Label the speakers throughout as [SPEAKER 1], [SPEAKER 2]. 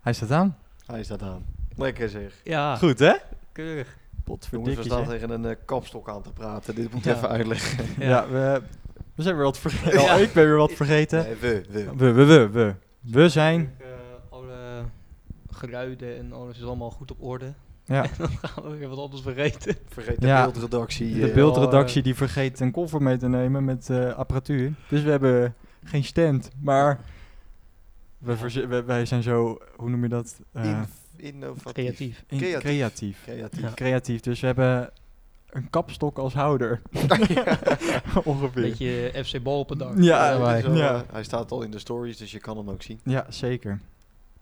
[SPEAKER 1] Hij staat aan.
[SPEAKER 2] Hij staat aan. Lekker zeg.
[SPEAKER 3] Ja,
[SPEAKER 1] Goed, hè?
[SPEAKER 3] keurig.
[SPEAKER 2] Jongens, we
[SPEAKER 3] Potverdikkie.
[SPEAKER 2] staan
[SPEAKER 3] zeg.
[SPEAKER 2] tegen een eh, kapstok aan te praten. Dit moet
[SPEAKER 3] Ja.
[SPEAKER 2] even uitleggen.
[SPEAKER 1] Ja,
[SPEAKER 3] Ja.
[SPEAKER 1] we, we zijn weer wat vergeten.
[SPEAKER 3] Ja.
[SPEAKER 1] ik ben weer wat vergeten.
[SPEAKER 2] Nee, we, we.
[SPEAKER 1] We, we, we, we. We zijn...
[SPEAKER 3] Eh, alle geluiden en alles is allemaal goed op orde.
[SPEAKER 1] Ja.
[SPEAKER 3] En dan gaan we weer wat anders vergeten.
[SPEAKER 2] Vergeet de
[SPEAKER 1] Ja.
[SPEAKER 2] beeldredactie.
[SPEAKER 1] De
[SPEAKER 2] eh,
[SPEAKER 1] beeldredactie die vergeet een koffer mee te nemen met eh, apparatuur. Dus we hebben geen stand, maar we verze- we- wij zijn zo, hoe noem je dat? Eh,
[SPEAKER 2] in- innovatief.
[SPEAKER 3] Creatief.
[SPEAKER 1] in-
[SPEAKER 2] creatief.
[SPEAKER 1] creatief.
[SPEAKER 2] Creatief.
[SPEAKER 3] Ja.
[SPEAKER 1] Creatief, dus we hebben een kapstok als houder. Ongeveer.
[SPEAKER 3] Beetje eh, FC bal op het dak.
[SPEAKER 1] Ja,
[SPEAKER 2] dit
[SPEAKER 1] wij-
[SPEAKER 2] is wel,
[SPEAKER 1] ja.
[SPEAKER 2] eh, hij staat al in de stories, dus je kan hem ook zien.
[SPEAKER 1] Ja, zeker.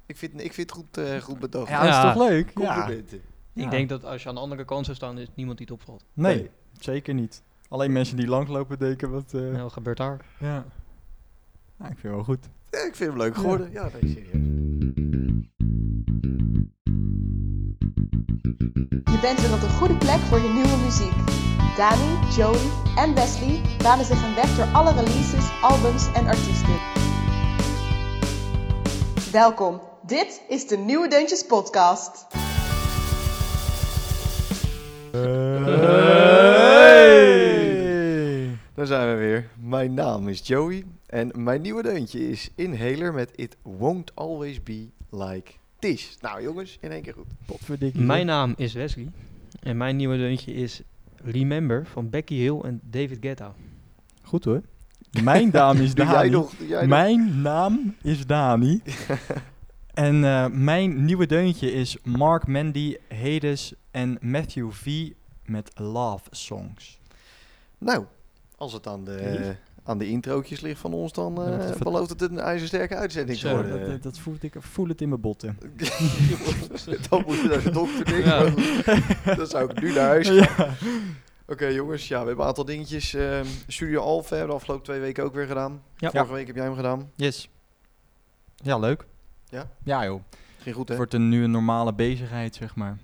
[SPEAKER 2] Ik vind, ik vind het goed, eh, goed bedacht.
[SPEAKER 1] Ja, dat is toch leuk? Ja.
[SPEAKER 2] Complimenten.
[SPEAKER 3] Ik denk dat als je aan de andere kant zou staan, is niemand die het opvalt.
[SPEAKER 1] Nee,
[SPEAKER 2] Nee.
[SPEAKER 1] zeker niet. Alleen mensen die langslopen denken wat... eh,
[SPEAKER 3] Nou, wat gebeurt daar?
[SPEAKER 1] Ja. Nou, ik vind het wel goed.
[SPEAKER 2] Ja. ik vind hem leuk geworden. Ja, nee, serieus.
[SPEAKER 4] Je bent weer op de goede plek voor je nieuwe muziek. Dani, Joey en Wesley banen zich een weg door alle releases, albums en artiesten. Welkom, dit is de Nieuwe Deuntjes Podcast.
[SPEAKER 2] Hey! Daar zijn we weer. Mijn naam is Joey en mijn nieuwe deuntje is Inhaler met It Won't Always Be Like This. Nou jongens, in één keer goed.
[SPEAKER 1] Potverdikkie.
[SPEAKER 3] Mijn naam is Wesley. En mijn nieuwe deuntje is Remember van Becky Hill en David Guetta.
[SPEAKER 1] Goed hoor. Mijn naam is
[SPEAKER 2] Doe jij
[SPEAKER 1] Dani.
[SPEAKER 2] nog? Doe jij nog?
[SPEAKER 1] Mijn naam is Dani. en eh, mijn nieuwe deuntje is Mark Mandy, Hades en Matthew V met Love Songs.
[SPEAKER 2] Nou, als het aan de,
[SPEAKER 1] Lief.
[SPEAKER 2] aan de introotjes ligt van ons, dan
[SPEAKER 1] Dan wordt het
[SPEAKER 2] eh
[SPEAKER 1] ver-
[SPEAKER 2] belooft het een ijzersterke uitzending te
[SPEAKER 3] Zo,
[SPEAKER 1] Zo,
[SPEAKER 2] worden.
[SPEAKER 1] dat, eh, dat, dat voel, ik, voel het in mijn botten.
[SPEAKER 2] dan moet je naar de dokter denken.
[SPEAKER 3] Ja.
[SPEAKER 2] want Dan zou ik nu naar huis gaan.
[SPEAKER 1] Ja.
[SPEAKER 2] Oké jongens, ja, we hebben een aantal dingetjes. Ehm, Studio Alpha hebben we de afgelopen twee weken ook weer gedaan.
[SPEAKER 3] Ja.
[SPEAKER 2] Vorige week heb jij hem gedaan.
[SPEAKER 1] Yes. Ja, leuk.
[SPEAKER 2] Ja?
[SPEAKER 1] Ja joh.
[SPEAKER 2] Ging goed hè?
[SPEAKER 1] Het wordt een, nu een normale bezigheid, zeg maar.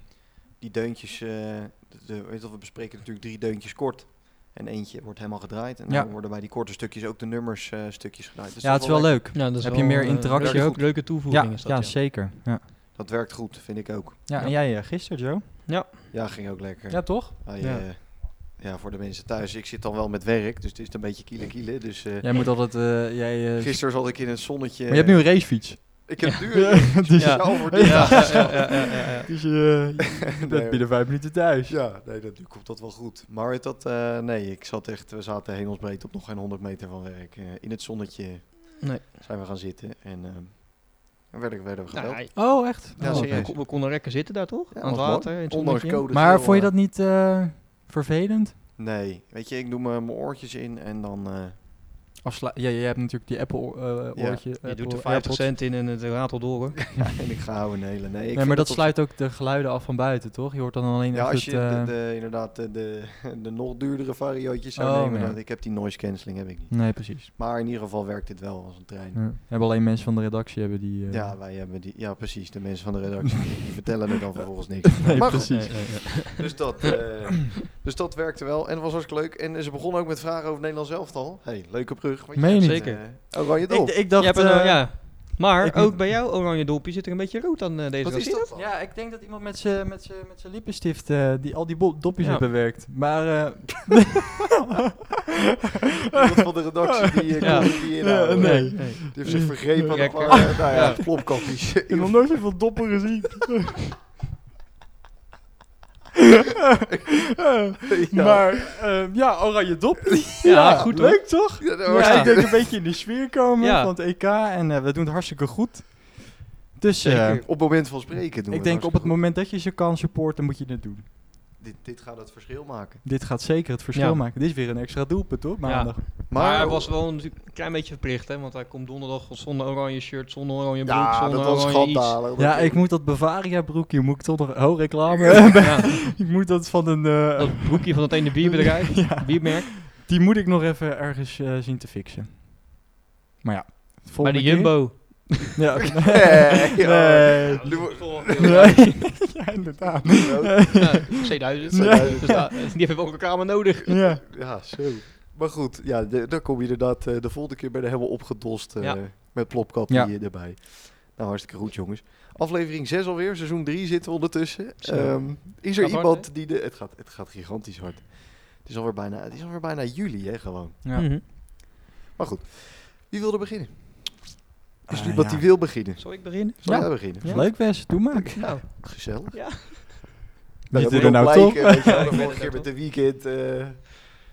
[SPEAKER 2] Die deuntjes, eh, de, de- weet je wat, we bespreken natuurlijk drie deuntjes kort. En eentje wordt helemaal gedraaid. En
[SPEAKER 1] Ja.
[SPEAKER 2] dan worden bij die korte stukjes ook de nummers eh, stukjes gedraaid. Dus
[SPEAKER 1] ja, het
[SPEAKER 2] dat
[SPEAKER 1] is wel leuk.
[SPEAKER 3] Ja, dat is
[SPEAKER 1] Heb je
[SPEAKER 3] wel,
[SPEAKER 1] meer
[SPEAKER 3] eh,
[SPEAKER 1] interactie
[SPEAKER 3] leuke-
[SPEAKER 1] ook?
[SPEAKER 3] Leuke
[SPEAKER 1] Ja,
[SPEAKER 3] toevoeging is dat,
[SPEAKER 1] ja, zeker. Ja.
[SPEAKER 2] Dat werkt goed, vind ik ook.
[SPEAKER 1] Ja, en
[SPEAKER 3] Ja.
[SPEAKER 1] jij eh, gisteren, Joe?
[SPEAKER 2] Ja, ging ook lekker.
[SPEAKER 1] Ja, toch?
[SPEAKER 2] Hij,
[SPEAKER 1] Ja.
[SPEAKER 2] eh, ja, voor de mensen thuis. Ik zit dan wel met werk, dus het is een beetje kiele kiele. Dus eh,
[SPEAKER 1] Jij moet altijd... eh, jij, eh,
[SPEAKER 2] gisteren eh, zat ik in het zonnetje.
[SPEAKER 1] Maar je hebt nu een racefiets.
[SPEAKER 2] Ik heb nu
[SPEAKER 1] Ja.
[SPEAKER 2] een
[SPEAKER 1] Dus-
[SPEAKER 2] speciaal voor
[SPEAKER 3] Ja,
[SPEAKER 2] dit.
[SPEAKER 3] ja, ja, ja, ja, ja, ja.
[SPEAKER 1] Dus je bent
[SPEAKER 2] Nee, hoor.
[SPEAKER 1] binnen vijf minuten thuis.
[SPEAKER 2] Ja, nee, natuurlijk komt dat wel goed. Maar weet dat, eh, nee, ik zat echt, we zaten hemelsbreed op nog geen 100 meter van werk. Eh, in het zonnetje
[SPEAKER 3] Nee.
[SPEAKER 2] zijn we gaan zitten en ehm dan werden, werden we gebeld.
[SPEAKER 3] Nou,
[SPEAKER 2] Ja,
[SPEAKER 1] Oh, echt?
[SPEAKER 2] Ja,
[SPEAKER 1] Oh,
[SPEAKER 3] we,
[SPEAKER 2] serieus.
[SPEAKER 3] kon- we konden lekker zitten daar toch?
[SPEAKER 2] was
[SPEAKER 3] Aan het
[SPEAKER 2] mooi.
[SPEAKER 3] water, in het
[SPEAKER 2] Ondanks
[SPEAKER 3] zonnetje.
[SPEAKER 2] code
[SPEAKER 1] Maar
[SPEAKER 2] geel,
[SPEAKER 1] vond je
[SPEAKER 2] eh,
[SPEAKER 1] dat niet eh, vervelend?
[SPEAKER 2] Nee, weet je, ik doe mijn mijn oortjes in en dan... eh,
[SPEAKER 1] Afsla ja, je hebt natuurlijk die Apple eh,
[SPEAKER 2] Ja.
[SPEAKER 1] oortje.
[SPEAKER 3] Je doet
[SPEAKER 1] Apple
[SPEAKER 3] er 50
[SPEAKER 1] AirPods.
[SPEAKER 3] cent in en het ratelt door hoor.
[SPEAKER 2] en ik ga houden een hele... Nee, ik
[SPEAKER 1] nee,
[SPEAKER 2] vind
[SPEAKER 1] maar dat
[SPEAKER 2] op-
[SPEAKER 1] sluit ook de geluiden af van buiten, toch? Je hoort dan alleen
[SPEAKER 2] Ja,
[SPEAKER 1] echt
[SPEAKER 2] als je
[SPEAKER 1] het... eh,
[SPEAKER 2] de, de- inderdaad de, de, de nog duurdere variantjes zou
[SPEAKER 1] Oh,
[SPEAKER 2] nemen,
[SPEAKER 1] ja.
[SPEAKER 2] dan, ik heb die noise cancelling heb ik niet.
[SPEAKER 1] Nee, precies.
[SPEAKER 2] Maar in ieder geval werkt dit wel als een trein.
[SPEAKER 1] Ja. Hebben alleen mensen van de redactie hebben die... eh,
[SPEAKER 2] Ja, wij hebben die, ja precies, de mensen van de redactie, die vertellen er dan vervolgens niks.
[SPEAKER 1] Nee,
[SPEAKER 2] Maar goed,
[SPEAKER 1] precies.
[SPEAKER 2] Dus dat, eh, dus dat werkte wel en het was hartstikke leuk. En eh, ze begonnen ook met vragen over het Nederlands elftal. Hey, leuke brug. want
[SPEAKER 1] Meen je
[SPEAKER 2] hebt,
[SPEAKER 3] niet? Zeker.
[SPEAKER 2] eh, Oranje
[SPEAKER 1] Ik,
[SPEAKER 2] Dol.
[SPEAKER 1] ik dacht...
[SPEAKER 3] Jij hebt een,
[SPEAKER 1] eh,
[SPEAKER 3] ja. Maar
[SPEAKER 1] ik
[SPEAKER 3] ook
[SPEAKER 1] moet-
[SPEAKER 3] bij jou, oranje dolpje, zit er een beetje rood aan eh, deze
[SPEAKER 2] Wat
[SPEAKER 3] kant.
[SPEAKER 2] is dat dan?
[SPEAKER 1] Ja, ik denk dat iemand met zijn met z'n- met z'n lippenstift eh, die al die bo- dopjes
[SPEAKER 3] Ja.
[SPEAKER 1] heeft bewerkt. Maar eh,
[SPEAKER 2] Iemand van de redactie die, eh,
[SPEAKER 3] Ja.
[SPEAKER 2] kon die
[SPEAKER 1] Ja,
[SPEAKER 2] inhouden.
[SPEAKER 1] nee.
[SPEAKER 3] Nee.
[SPEAKER 2] Die heeft zich vergrepen aan een
[SPEAKER 3] Kijk,
[SPEAKER 2] paar
[SPEAKER 3] kijk.
[SPEAKER 2] eh, nou ja,
[SPEAKER 3] Ja.
[SPEAKER 2] plopkapjes.
[SPEAKER 1] ik heb nog nooit zoveel doppen gezien.
[SPEAKER 2] Ja.
[SPEAKER 1] Maar eh, ja, oranje dop.
[SPEAKER 3] Ja, goed hoor.
[SPEAKER 1] leuk toch?
[SPEAKER 2] Ja, dat
[SPEAKER 1] Ja,
[SPEAKER 2] was-
[SPEAKER 1] Ik denk een beetje in de sfeer komen
[SPEAKER 3] Ja.
[SPEAKER 1] van het EK en eh, we doen het hartstikke goed. Dus eh,
[SPEAKER 3] Zeker.
[SPEAKER 2] Op het moment van spreken doen we
[SPEAKER 1] ik denk op het
[SPEAKER 2] hartstikke
[SPEAKER 1] moment dat je ze kan supporten, moet je het doen.
[SPEAKER 2] goed. Dit, dit gaat het verschil maken.
[SPEAKER 1] Dit gaat zeker het verschil
[SPEAKER 3] Ja.
[SPEAKER 1] maken. Dit is weer een extra doelpunt, toch? Maandag.
[SPEAKER 3] Maar, hij was wel natuurlijk een klein beetje verplicht, hè? Want hij komt donderdag zonder oranje shirt, zonder oranje broek,
[SPEAKER 2] Ja,
[SPEAKER 3] zonder
[SPEAKER 2] dat was
[SPEAKER 3] oranje nou, iets.
[SPEAKER 2] schandalig.
[SPEAKER 1] Ja, ik moet dat Bavaria broekje, moet ik toch nog... Oh, reclame.
[SPEAKER 3] Ja,
[SPEAKER 1] ik moet dat van een... eh,
[SPEAKER 3] dat broekje van het ene bierbedrijf,
[SPEAKER 1] Ja.
[SPEAKER 3] biermerk.
[SPEAKER 1] Die moet ik nog even ergens eh, zien te fixen. Maar ja,
[SPEAKER 3] Maar
[SPEAKER 1] volgende
[SPEAKER 3] die Jumbo.
[SPEAKER 1] keer- Ja, nee.
[SPEAKER 2] Nee, ja.
[SPEAKER 1] Nee. Ja, inderdaad.
[SPEAKER 3] Ja, C1000.
[SPEAKER 2] Ja.
[SPEAKER 3] Dus daar- die hebben ook een kamer nodig.
[SPEAKER 1] Ja.
[SPEAKER 2] Ja, zo. Maar goed, ja, de- dan kom je inderdaad eh, de volgende keer bij de helemaal opgedost eh,
[SPEAKER 3] Ja.
[SPEAKER 2] met plopkap die
[SPEAKER 1] Ja.
[SPEAKER 2] eh, erbij. Nou, hartstikke goed, jongens. Aflevering 6 alweer, seizoen 3 zitten we ondertussen.
[SPEAKER 3] Zo.
[SPEAKER 2] Ehm, is er
[SPEAKER 3] Gaat hard,
[SPEAKER 2] iemand die de... Het gaat, het gaat gigantisch hard. Het is alweer bijna, het is alweer bijna juli, hè, gewoon.
[SPEAKER 1] Ja.
[SPEAKER 3] Mhm.
[SPEAKER 2] Maar goed, wie wil er beginnen? Is er
[SPEAKER 1] Eh,
[SPEAKER 2] iemand
[SPEAKER 1] ja.
[SPEAKER 2] die wil beginnen?
[SPEAKER 3] Zal ik beginnen?
[SPEAKER 2] Zal
[SPEAKER 1] Ja.
[SPEAKER 2] jij beginnen?
[SPEAKER 3] Ja.
[SPEAKER 1] Leuk Wes, doe maar.
[SPEAKER 3] Nou,
[SPEAKER 2] Gezellig.
[SPEAKER 3] Ja.
[SPEAKER 2] Nou,
[SPEAKER 1] Niet
[SPEAKER 2] dat
[SPEAKER 1] doen
[SPEAKER 2] moet
[SPEAKER 1] nou
[SPEAKER 2] ook
[SPEAKER 1] toch?
[SPEAKER 2] blijken, weet je wel.
[SPEAKER 3] Ik ben
[SPEAKER 2] vorige
[SPEAKER 3] er
[SPEAKER 2] keer
[SPEAKER 3] nou
[SPEAKER 2] met de weekend eh,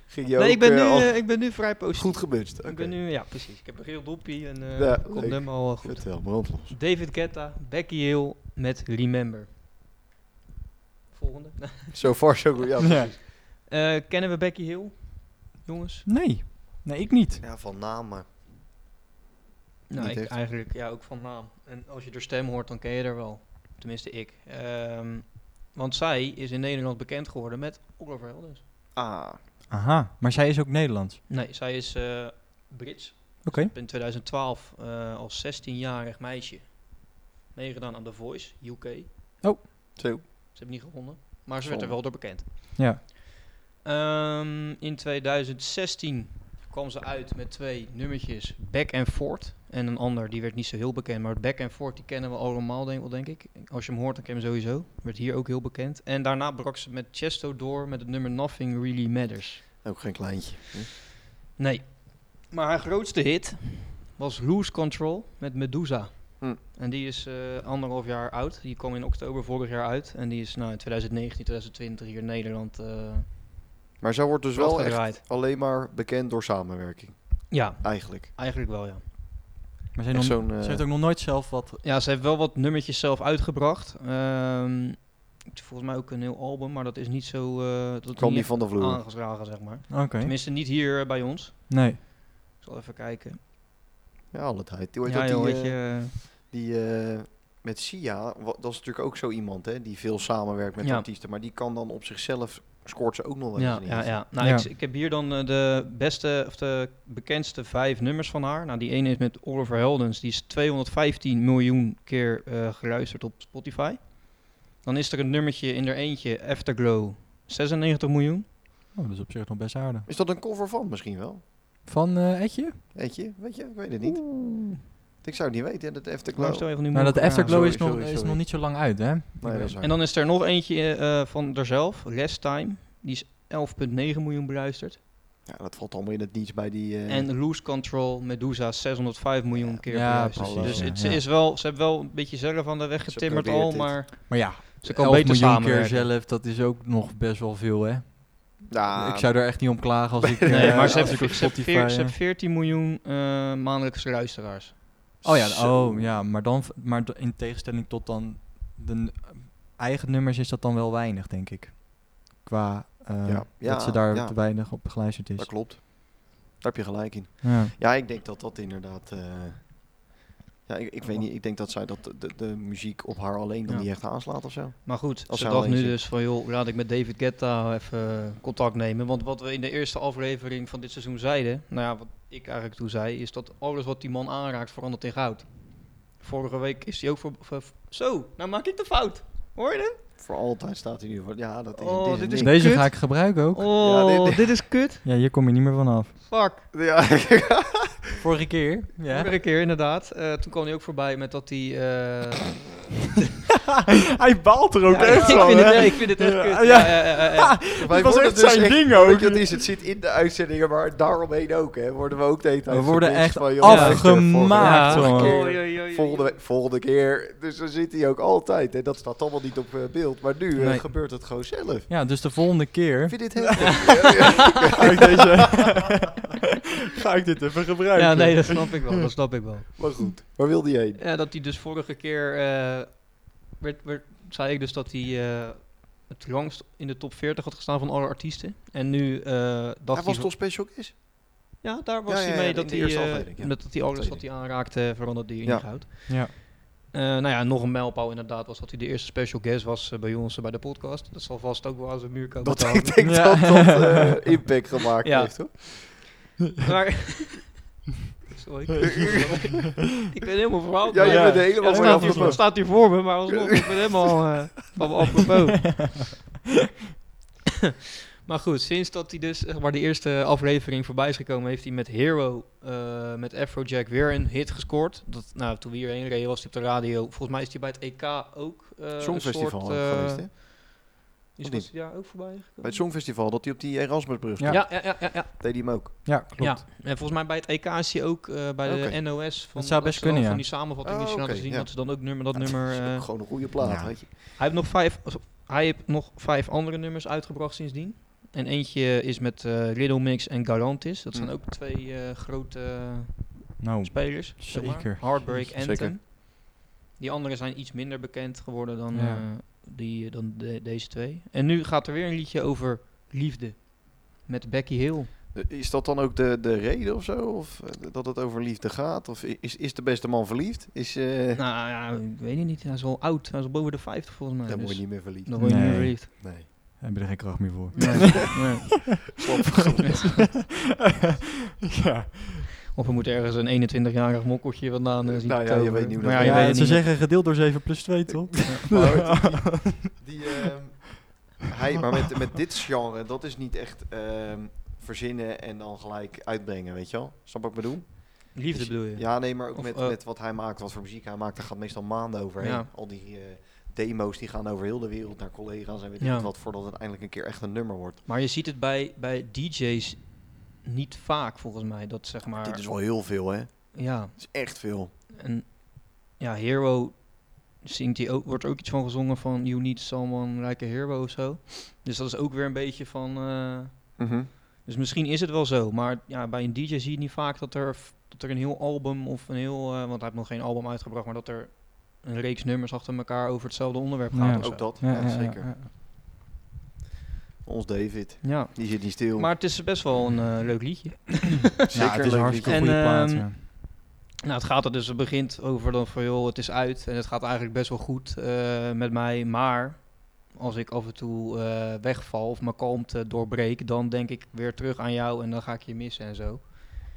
[SPEAKER 2] ging je
[SPEAKER 3] nee,
[SPEAKER 2] ook
[SPEAKER 3] ik, ben nu,
[SPEAKER 2] eh, al
[SPEAKER 3] eh, ik ben nu vrij positief.
[SPEAKER 2] goed gebunst. Oké.
[SPEAKER 3] Ik ben nu, ja precies. Ik heb een geel doppie en eh
[SPEAKER 2] Ja,
[SPEAKER 3] komt
[SPEAKER 2] leuk.
[SPEAKER 3] helemaal eh, goed.
[SPEAKER 2] Vertel, brand los.
[SPEAKER 3] David Guetta, Becky Hill met Remember. Volgende.
[SPEAKER 2] So far so good. Ja,
[SPEAKER 1] Ja.
[SPEAKER 2] precies.
[SPEAKER 3] Eh, kennen we Becky Hill, jongens?
[SPEAKER 1] Nee. Nee, ik niet.
[SPEAKER 2] Ja, van naam, maar...
[SPEAKER 3] Nou,
[SPEAKER 2] Niet
[SPEAKER 3] ik
[SPEAKER 2] echt.
[SPEAKER 3] eigenlijk ja, ook van naam. En als je haar stem hoort, dan ken je haar wel. Tenminste, ik. Ehm, want zij is in Nederland bekend geworden met Oliver Heldens.
[SPEAKER 2] Ah,
[SPEAKER 1] Aha, maar zij is ook Nederlands.
[SPEAKER 3] Nee, zij is eh, Brits.
[SPEAKER 1] Oké.
[SPEAKER 3] In 2012 eh, als 16-jarig meisje meegedaan aan The Voice, UK.
[SPEAKER 2] zo.
[SPEAKER 3] Ze hebben niet gewonnen, maar ze werd
[SPEAKER 2] Zonde.
[SPEAKER 3] er wel door bekend.
[SPEAKER 1] Ja.
[SPEAKER 3] Ehm, in 2016 kwam ze uit met twee nummertjes, Back and Forth. En een ander, die werd niet zo heel bekend, maar Back and Forth die kennen we allemaal denk, wel, denk ik. Als je hem hoort, dan ken je hem sowieso. Werd hier ook heel bekend. En daarna brak ze met Chesto door met het nummer Nothing Really Matters.
[SPEAKER 2] Ook geen kleintje. Hm?
[SPEAKER 3] Nee. Maar haar grootste hit was Lose Control met Medusa.
[SPEAKER 2] Hm.
[SPEAKER 3] En die is eh, anderhalf jaar oud. Die kwam in oktober vorig jaar uit. En die is nou, in 2019, 2020 hier in Nederland eh
[SPEAKER 2] Maar zij wordt dus wel echt
[SPEAKER 3] rondgedraaid.
[SPEAKER 2] alleen maar bekend door samenwerking,
[SPEAKER 3] Ja,
[SPEAKER 2] eigenlijk.
[SPEAKER 3] eigenlijk wel ja.
[SPEAKER 1] Maar zij,
[SPEAKER 2] Echt
[SPEAKER 1] nog-
[SPEAKER 2] zo'n... eh,
[SPEAKER 1] ze heeft ook nog nooit zelf wat...
[SPEAKER 3] Ja, ze heeft wel wat nummertjes zelf uitgebracht. Ehm, volgens mij ook een heel album, maar dat is niet zo... eh dat
[SPEAKER 2] kwam die
[SPEAKER 3] niet
[SPEAKER 2] van de vloer.
[SPEAKER 3] aangeslagen, zeg maar.
[SPEAKER 1] Oké.
[SPEAKER 3] Tenminste, niet hier eh, bij ons.
[SPEAKER 1] Nee.
[SPEAKER 3] Ik zal even kijken.
[SPEAKER 2] Ja, alle tijd. Die,
[SPEAKER 3] ja,
[SPEAKER 2] dat
[SPEAKER 3] joh,
[SPEAKER 2] die,
[SPEAKER 3] weet
[SPEAKER 2] eh,
[SPEAKER 3] je, eh,
[SPEAKER 2] die eh, met Sia, wa- dat is natuurlijk ook zo iemand, hè, die veel samenwerkt met
[SPEAKER 3] Ja.
[SPEAKER 2] artiesten, maar die kan dan op zichzelf, scoort ze ook nog wel eens
[SPEAKER 3] Ja,
[SPEAKER 2] een
[SPEAKER 3] ja,
[SPEAKER 2] hit.
[SPEAKER 3] ja. Nou,
[SPEAKER 1] Ja.
[SPEAKER 3] Ik, s- ik heb hier dan eh, de beste of de bekendste vijf nummers van haar. Nou, die ene is met Oliver Heldens. Die is 215 miljoen keer eh, geluisterd op Spotify. Dan is er een nummertje in er eentje, Afterglow, 96 miljoen.
[SPEAKER 1] Oh, dat is op zich nog best aardig.
[SPEAKER 2] Is dat een cover van misschien wel?
[SPEAKER 1] Van eh Etje?
[SPEAKER 2] Weet je, weet je, ik weet het niet. Ik zou het niet weten, hè, dat Afterglow.
[SPEAKER 3] Luister even nu
[SPEAKER 1] Nou,
[SPEAKER 3] moet
[SPEAKER 1] dat
[SPEAKER 3] ik elkaar
[SPEAKER 1] Afterglow
[SPEAKER 2] sorry,
[SPEAKER 1] is, nog,
[SPEAKER 2] sorry,
[SPEAKER 1] is
[SPEAKER 2] sorry.
[SPEAKER 1] nog niet zo lang uit, hè?
[SPEAKER 2] Nee, dat is waar.
[SPEAKER 3] En dan is er nog eentje eh, van haarzelf, Last Time. Die is 11,9 miljoen beluisterd.
[SPEAKER 2] Ja, dat valt allemaal in het niets bij die... eh,
[SPEAKER 3] En Lose Control, Medusa, 605 miljoen keer
[SPEAKER 1] Ja,
[SPEAKER 3] beluisterd.
[SPEAKER 2] precies,
[SPEAKER 3] dus
[SPEAKER 2] ja,
[SPEAKER 3] het,
[SPEAKER 1] ja.
[SPEAKER 3] ze, is wel, ze heeft wel een beetje zelf aan de weg getimmerd
[SPEAKER 2] probeert
[SPEAKER 3] al,
[SPEAKER 2] dit.
[SPEAKER 3] maar
[SPEAKER 1] Maar ja, 11
[SPEAKER 3] ze kan beter
[SPEAKER 1] miljoen keer
[SPEAKER 3] samenwerken.
[SPEAKER 1] zelf, dat is ook nog best wel veel, hè?
[SPEAKER 2] ja,
[SPEAKER 1] ik zou er echt niet om klagen als ik...
[SPEAKER 3] Ah, Nee,
[SPEAKER 1] eh,
[SPEAKER 3] maar ze
[SPEAKER 1] als
[SPEAKER 3] heeft,
[SPEAKER 1] ik op
[SPEAKER 3] ze heeft
[SPEAKER 1] Spotify,
[SPEAKER 3] veer- ze
[SPEAKER 1] eh,
[SPEAKER 3] heeft 14 miljoen eh, maandelijkse luisteraars.
[SPEAKER 1] Oh ja,
[SPEAKER 2] Zo.
[SPEAKER 1] oh, ja maar, dan, v- maar d- in tegenstelling tot dan de n- eigen nummers is dat dan wel weinig, denk ik. Qua eh,
[SPEAKER 2] Ja.
[SPEAKER 1] dat
[SPEAKER 2] Ja,
[SPEAKER 1] ze daar
[SPEAKER 2] ja.
[SPEAKER 1] te weinig op geluisterd is.
[SPEAKER 2] dat klopt. Daar heb je gelijk in.
[SPEAKER 1] Ja.
[SPEAKER 2] Ja, ik denk dat dat inderdaad. eh, ja, ik, ik weet niet. Ik denk dat zij dat de, de muziek op haar alleen dan
[SPEAKER 3] Ja.
[SPEAKER 2] niet echt aanslaat of zo.
[SPEAKER 3] Maar goed,
[SPEAKER 2] Als
[SPEAKER 3] ze
[SPEAKER 2] er
[SPEAKER 3] dacht
[SPEAKER 2] al
[SPEAKER 3] nu
[SPEAKER 2] eentje-
[SPEAKER 3] dus van joh, laat ik met David Guetta even contact nemen. Want wat we in de eerste aflevering van dit seizoen zeiden, nou ja, wat ik eigenlijk toen zei, is dat alles wat die man aanraakt verandert in goud. Vorige week is hij ook voor... voor- zo, nou maak ik de fout. Hoor je hem?
[SPEAKER 2] Voor altijd staat hij nu. voor- Ja, dat is.
[SPEAKER 3] Oh,
[SPEAKER 2] dit is
[SPEAKER 3] dit
[SPEAKER 2] een
[SPEAKER 3] is
[SPEAKER 2] ding.
[SPEAKER 1] Deze
[SPEAKER 3] kut.
[SPEAKER 1] ga ik gebruiken ook.
[SPEAKER 3] Oh,
[SPEAKER 2] Ja, dit-
[SPEAKER 3] dit, is kut.
[SPEAKER 1] Ja, hier kom je niet meer vanaf.
[SPEAKER 3] Fuck.
[SPEAKER 2] Ja,
[SPEAKER 1] Vorige keer. Ja.
[SPEAKER 3] Vorige keer inderdaad. Eh, toen kwam hij ook voorbij met dat hij... eh,
[SPEAKER 1] Hij baalt er
[SPEAKER 3] Ja, ik- ik, vind het, ik vind het echt
[SPEAKER 1] Ja,
[SPEAKER 3] kut.
[SPEAKER 1] ja.
[SPEAKER 3] Ja, ja, ja, ja.
[SPEAKER 1] was
[SPEAKER 2] wij worden
[SPEAKER 1] echt
[SPEAKER 3] dus
[SPEAKER 1] zijn ding
[SPEAKER 2] dus weet
[SPEAKER 1] ook.
[SPEAKER 2] je, het, is, het zit in de uitzendingen, maar daaromheen ook. Hè, worden we ook de hele tijd
[SPEAKER 1] We worden
[SPEAKER 2] gepitcht
[SPEAKER 1] echt
[SPEAKER 2] van, joh, luister,
[SPEAKER 1] afgemaakt,
[SPEAKER 2] vorige
[SPEAKER 1] jongen.
[SPEAKER 2] keer,
[SPEAKER 3] Oei, oei, oei, oei.
[SPEAKER 2] Volgende, week- volgende keer. Dus dan zit hij ook altijd. Hè. Dat staat allemaal niet op eh, beeld. Maar nu eh,
[SPEAKER 3] Nee.
[SPEAKER 2] gebeurt het gewoon zelf.
[SPEAKER 1] Ja, dus de volgende
[SPEAKER 2] Ik
[SPEAKER 1] keer
[SPEAKER 2] vind dit heel goed. Ja, ja.
[SPEAKER 1] ga ik, deze, ga ik dit even gebruiken.
[SPEAKER 3] Ja, nee, dat snap ik wel. Dat snap ik wel.
[SPEAKER 2] Maar goed, waar wil die heen?
[SPEAKER 3] Ja, dat hij dus vorige keer eh, werd, werd, zei ik dus dat hij eh, het langst in de top 40 had gestaan van alle artiesten. En nu eh, dacht
[SPEAKER 2] Hij was
[SPEAKER 3] van-
[SPEAKER 2] toch special is?
[SPEAKER 3] Ja, daar was
[SPEAKER 2] Ja,
[SPEAKER 3] hij
[SPEAKER 2] ja, ja,
[SPEAKER 3] mee
[SPEAKER 2] in
[SPEAKER 3] dat
[SPEAKER 2] de
[SPEAKER 3] hij
[SPEAKER 2] eerste
[SPEAKER 3] eh,
[SPEAKER 2] aflevering, ja.
[SPEAKER 3] dat, dat hij alles wat
[SPEAKER 2] Tweede.
[SPEAKER 3] hij aanraakte veranderde die
[SPEAKER 2] Ja.
[SPEAKER 3] in goud.
[SPEAKER 1] Ja.
[SPEAKER 3] Eh, nou ja, nog een mijlpaal inderdaad was dat hij de eerste special guest was eh, bij ons eh, bij de podcast. Dat zal vast ook wel aan zijn muur komen.
[SPEAKER 2] Dat
[SPEAKER 3] te hangen.
[SPEAKER 2] ik denk
[SPEAKER 1] Ja.
[SPEAKER 2] dat dat eh, impact gemaakt
[SPEAKER 3] Ja.
[SPEAKER 2] heeft, hoor.
[SPEAKER 3] Maar. Sorry. ik ben helemaal verhaald.
[SPEAKER 2] Ja,
[SPEAKER 3] maar-
[SPEAKER 2] je
[SPEAKER 1] ja.
[SPEAKER 2] bent
[SPEAKER 3] Oh, Ja,
[SPEAKER 2] helemaal van
[SPEAKER 3] het staat, hier,
[SPEAKER 2] je
[SPEAKER 3] het staat hier voor me, maar alsnog, ik ben helemaal eh, van me apropos. Maar goed, sinds dat hij dus zeg maar, de eerste aflevering voorbij is gekomen, heeft hij met Hero, eh, met Afrojack, weer een hit gescoord. Dat, nou, toen we hierheen reden was hij op de radio. Volgens mij is hij bij het EK ook eh een
[SPEAKER 2] Songfestival
[SPEAKER 3] soort, eh,
[SPEAKER 2] geweest, hè?
[SPEAKER 3] Is
[SPEAKER 2] Of
[SPEAKER 3] was
[SPEAKER 2] niet?
[SPEAKER 3] hij daar ook voorbij
[SPEAKER 2] Bij het
[SPEAKER 3] gekomen?
[SPEAKER 2] Songfestival, dat hij op die Erasmusbrug
[SPEAKER 1] Ja.
[SPEAKER 2] stond.
[SPEAKER 3] Ja, ja, ja, ja, ja.
[SPEAKER 2] Deed hij hem ook.
[SPEAKER 1] Ja, klopt.
[SPEAKER 3] Ja, en volgens mij bij het EK is hij ook eh, bij
[SPEAKER 2] Oké.
[SPEAKER 3] de NOS. Van,
[SPEAKER 1] Dat zou best
[SPEAKER 3] ze dan
[SPEAKER 1] kunnen, ja.
[SPEAKER 3] Van die samenvatting die
[SPEAKER 2] Oh,
[SPEAKER 3] ze laten
[SPEAKER 2] oké,
[SPEAKER 3] zien,
[SPEAKER 2] ja.
[SPEAKER 3] dat ze dan ook nummer, dat
[SPEAKER 2] Ja, dus
[SPEAKER 3] nummer...
[SPEAKER 2] dat is
[SPEAKER 3] eh,
[SPEAKER 2] ook gewoon een goede plaat,
[SPEAKER 1] Ja.
[SPEAKER 2] weet je.
[SPEAKER 3] Hij heeft, nog vijf, hij heeft nog vijf andere nummers uitgebracht sindsdien. En eentje is met eh Riddle Mix en Galantis. Dat zijn
[SPEAKER 2] Mm.
[SPEAKER 3] ook twee eh, grote eh,
[SPEAKER 1] Nou,
[SPEAKER 3] spelers. zeg maar.
[SPEAKER 1] Zeker.
[SPEAKER 3] Heartbreak
[SPEAKER 2] Jezus.
[SPEAKER 3] Anthem.
[SPEAKER 2] Zeker.
[SPEAKER 3] Die andere zijn iets minder bekend geworden dan,
[SPEAKER 1] Ja.
[SPEAKER 3] eh, die, dan de- deze twee. En nu gaat er weer een liedje over liefde. Met Becky Hill.
[SPEAKER 2] Eh, Is dat dan ook de, de reden of zo? Of eh, dat het over liefde gaat? Of i- is, is de beste man verliefd? Is, eh,
[SPEAKER 3] Nou ja, ik weet het niet. Hij is al oud. Hij is al boven de 50 volgens mij.
[SPEAKER 2] dan
[SPEAKER 3] dus
[SPEAKER 2] word je niet meer verliefd.
[SPEAKER 3] Dan word je niet meer
[SPEAKER 1] Nee.
[SPEAKER 3] verliefd.
[SPEAKER 2] Nee.
[SPEAKER 1] hebben er geen kracht meer voor.
[SPEAKER 3] Nee.
[SPEAKER 2] Slap vergeten.
[SPEAKER 1] ja.
[SPEAKER 3] Of we moeten ergens een 21-jarig mokkeltje vandaan eh, zien.
[SPEAKER 2] Nou ja, je weet niet hoe dat
[SPEAKER 3] Maar
[SPEAKER 2] werkt.
[SPEAKER 3] ja, je
[SPEAKER 1] Ja,
[SPEAKER 3] weet het
[SPEAKER 1] ze
[SPEAKER 3] niet.
[SPEAKER 1] zeggen gedeeld door 7 plus 2, toch?
[SPEAKER 2] Maar goed, die, die, ehm, hij, maar met, met dit genre, dat is niet echt ehm, verzinnen en dan gelijk uitbrengen, weet je wel? Snap wat ik bedoel?
[SPEAKER 3] Liefde bedoel je?
[SPEAKER 2] Dus- Ja, nee, maar ook
[SPEAKER 3] Of,
[SPEAKER 2] met,
[SPEAKER 3] eh,
[SPEAKER 2] met wat hij maakt, wat voor muziek hij maakt, daar gaat meestal maanden overheen.
[SPEAKER 3] Ja.
[SPEAKER 2] Al die eh, demo's die gaan over heel de wereld naar collega's en weet ik
[SPEAKER 3] Ja.
[SPEAKER 2] niet wat, voordat het eindelijk een keer echt een nummer wordt.
[SPEAKER 3] Maar je ziet het bij, bij DJ's niet vaak, volgens mij. Dat zeg maar...
[SPEAKER 2] Dit is wel heel veel, hè? Het
[SPEAKER 3] Ja,
[SPEAKER 2] is echt veel.
[SPEAKER 3] en ja, Hero zingt die ook, wordt ook iets van gezongen van... You need someone like a hero of zo. Dus dat is ook weer een beetje van... eh, dus misschien is het wel zo, maar ja, bij een DJ zie je niet vaak dat er, dat er een heel album of een heel... eh, want hij heeft nog geen album uitgebracht, maar dat er een reeks nummers achter elkaar over hetzelfde onderwerp
[SPEAKER 1] Ja.
[SPEAKER 3] gaat. of zo.
[SPEAKER 2] Ook dat, ja, zeker. Ons David,
[SPEAKER 3] Ja,
[SPEAKER 2] die zit niet stil.
[SPEAKER 3] maar het is best wel een eh, leuk liedje.
[SPEAKER 1] Ja, het is een hartstikke
[SPEAKER 3] liedje.
[SPEAKER 1] goede
[SPEAKER 3] En,
[SPEAKER 1] plaat,
[SPEAKER 3] ehm,
[SPEAKER 1] ja.
[SPEAKER 3] Nou, het gaat er dus, het begint over dan van joh, het is uit en het gaat eigenlijk best wel goed eh, met mij. Maar als ik af en toe eh, wegval of mijn kalmte doorbreek, dan denk ik weer terug aan jou en dan ga ik je missen en zo.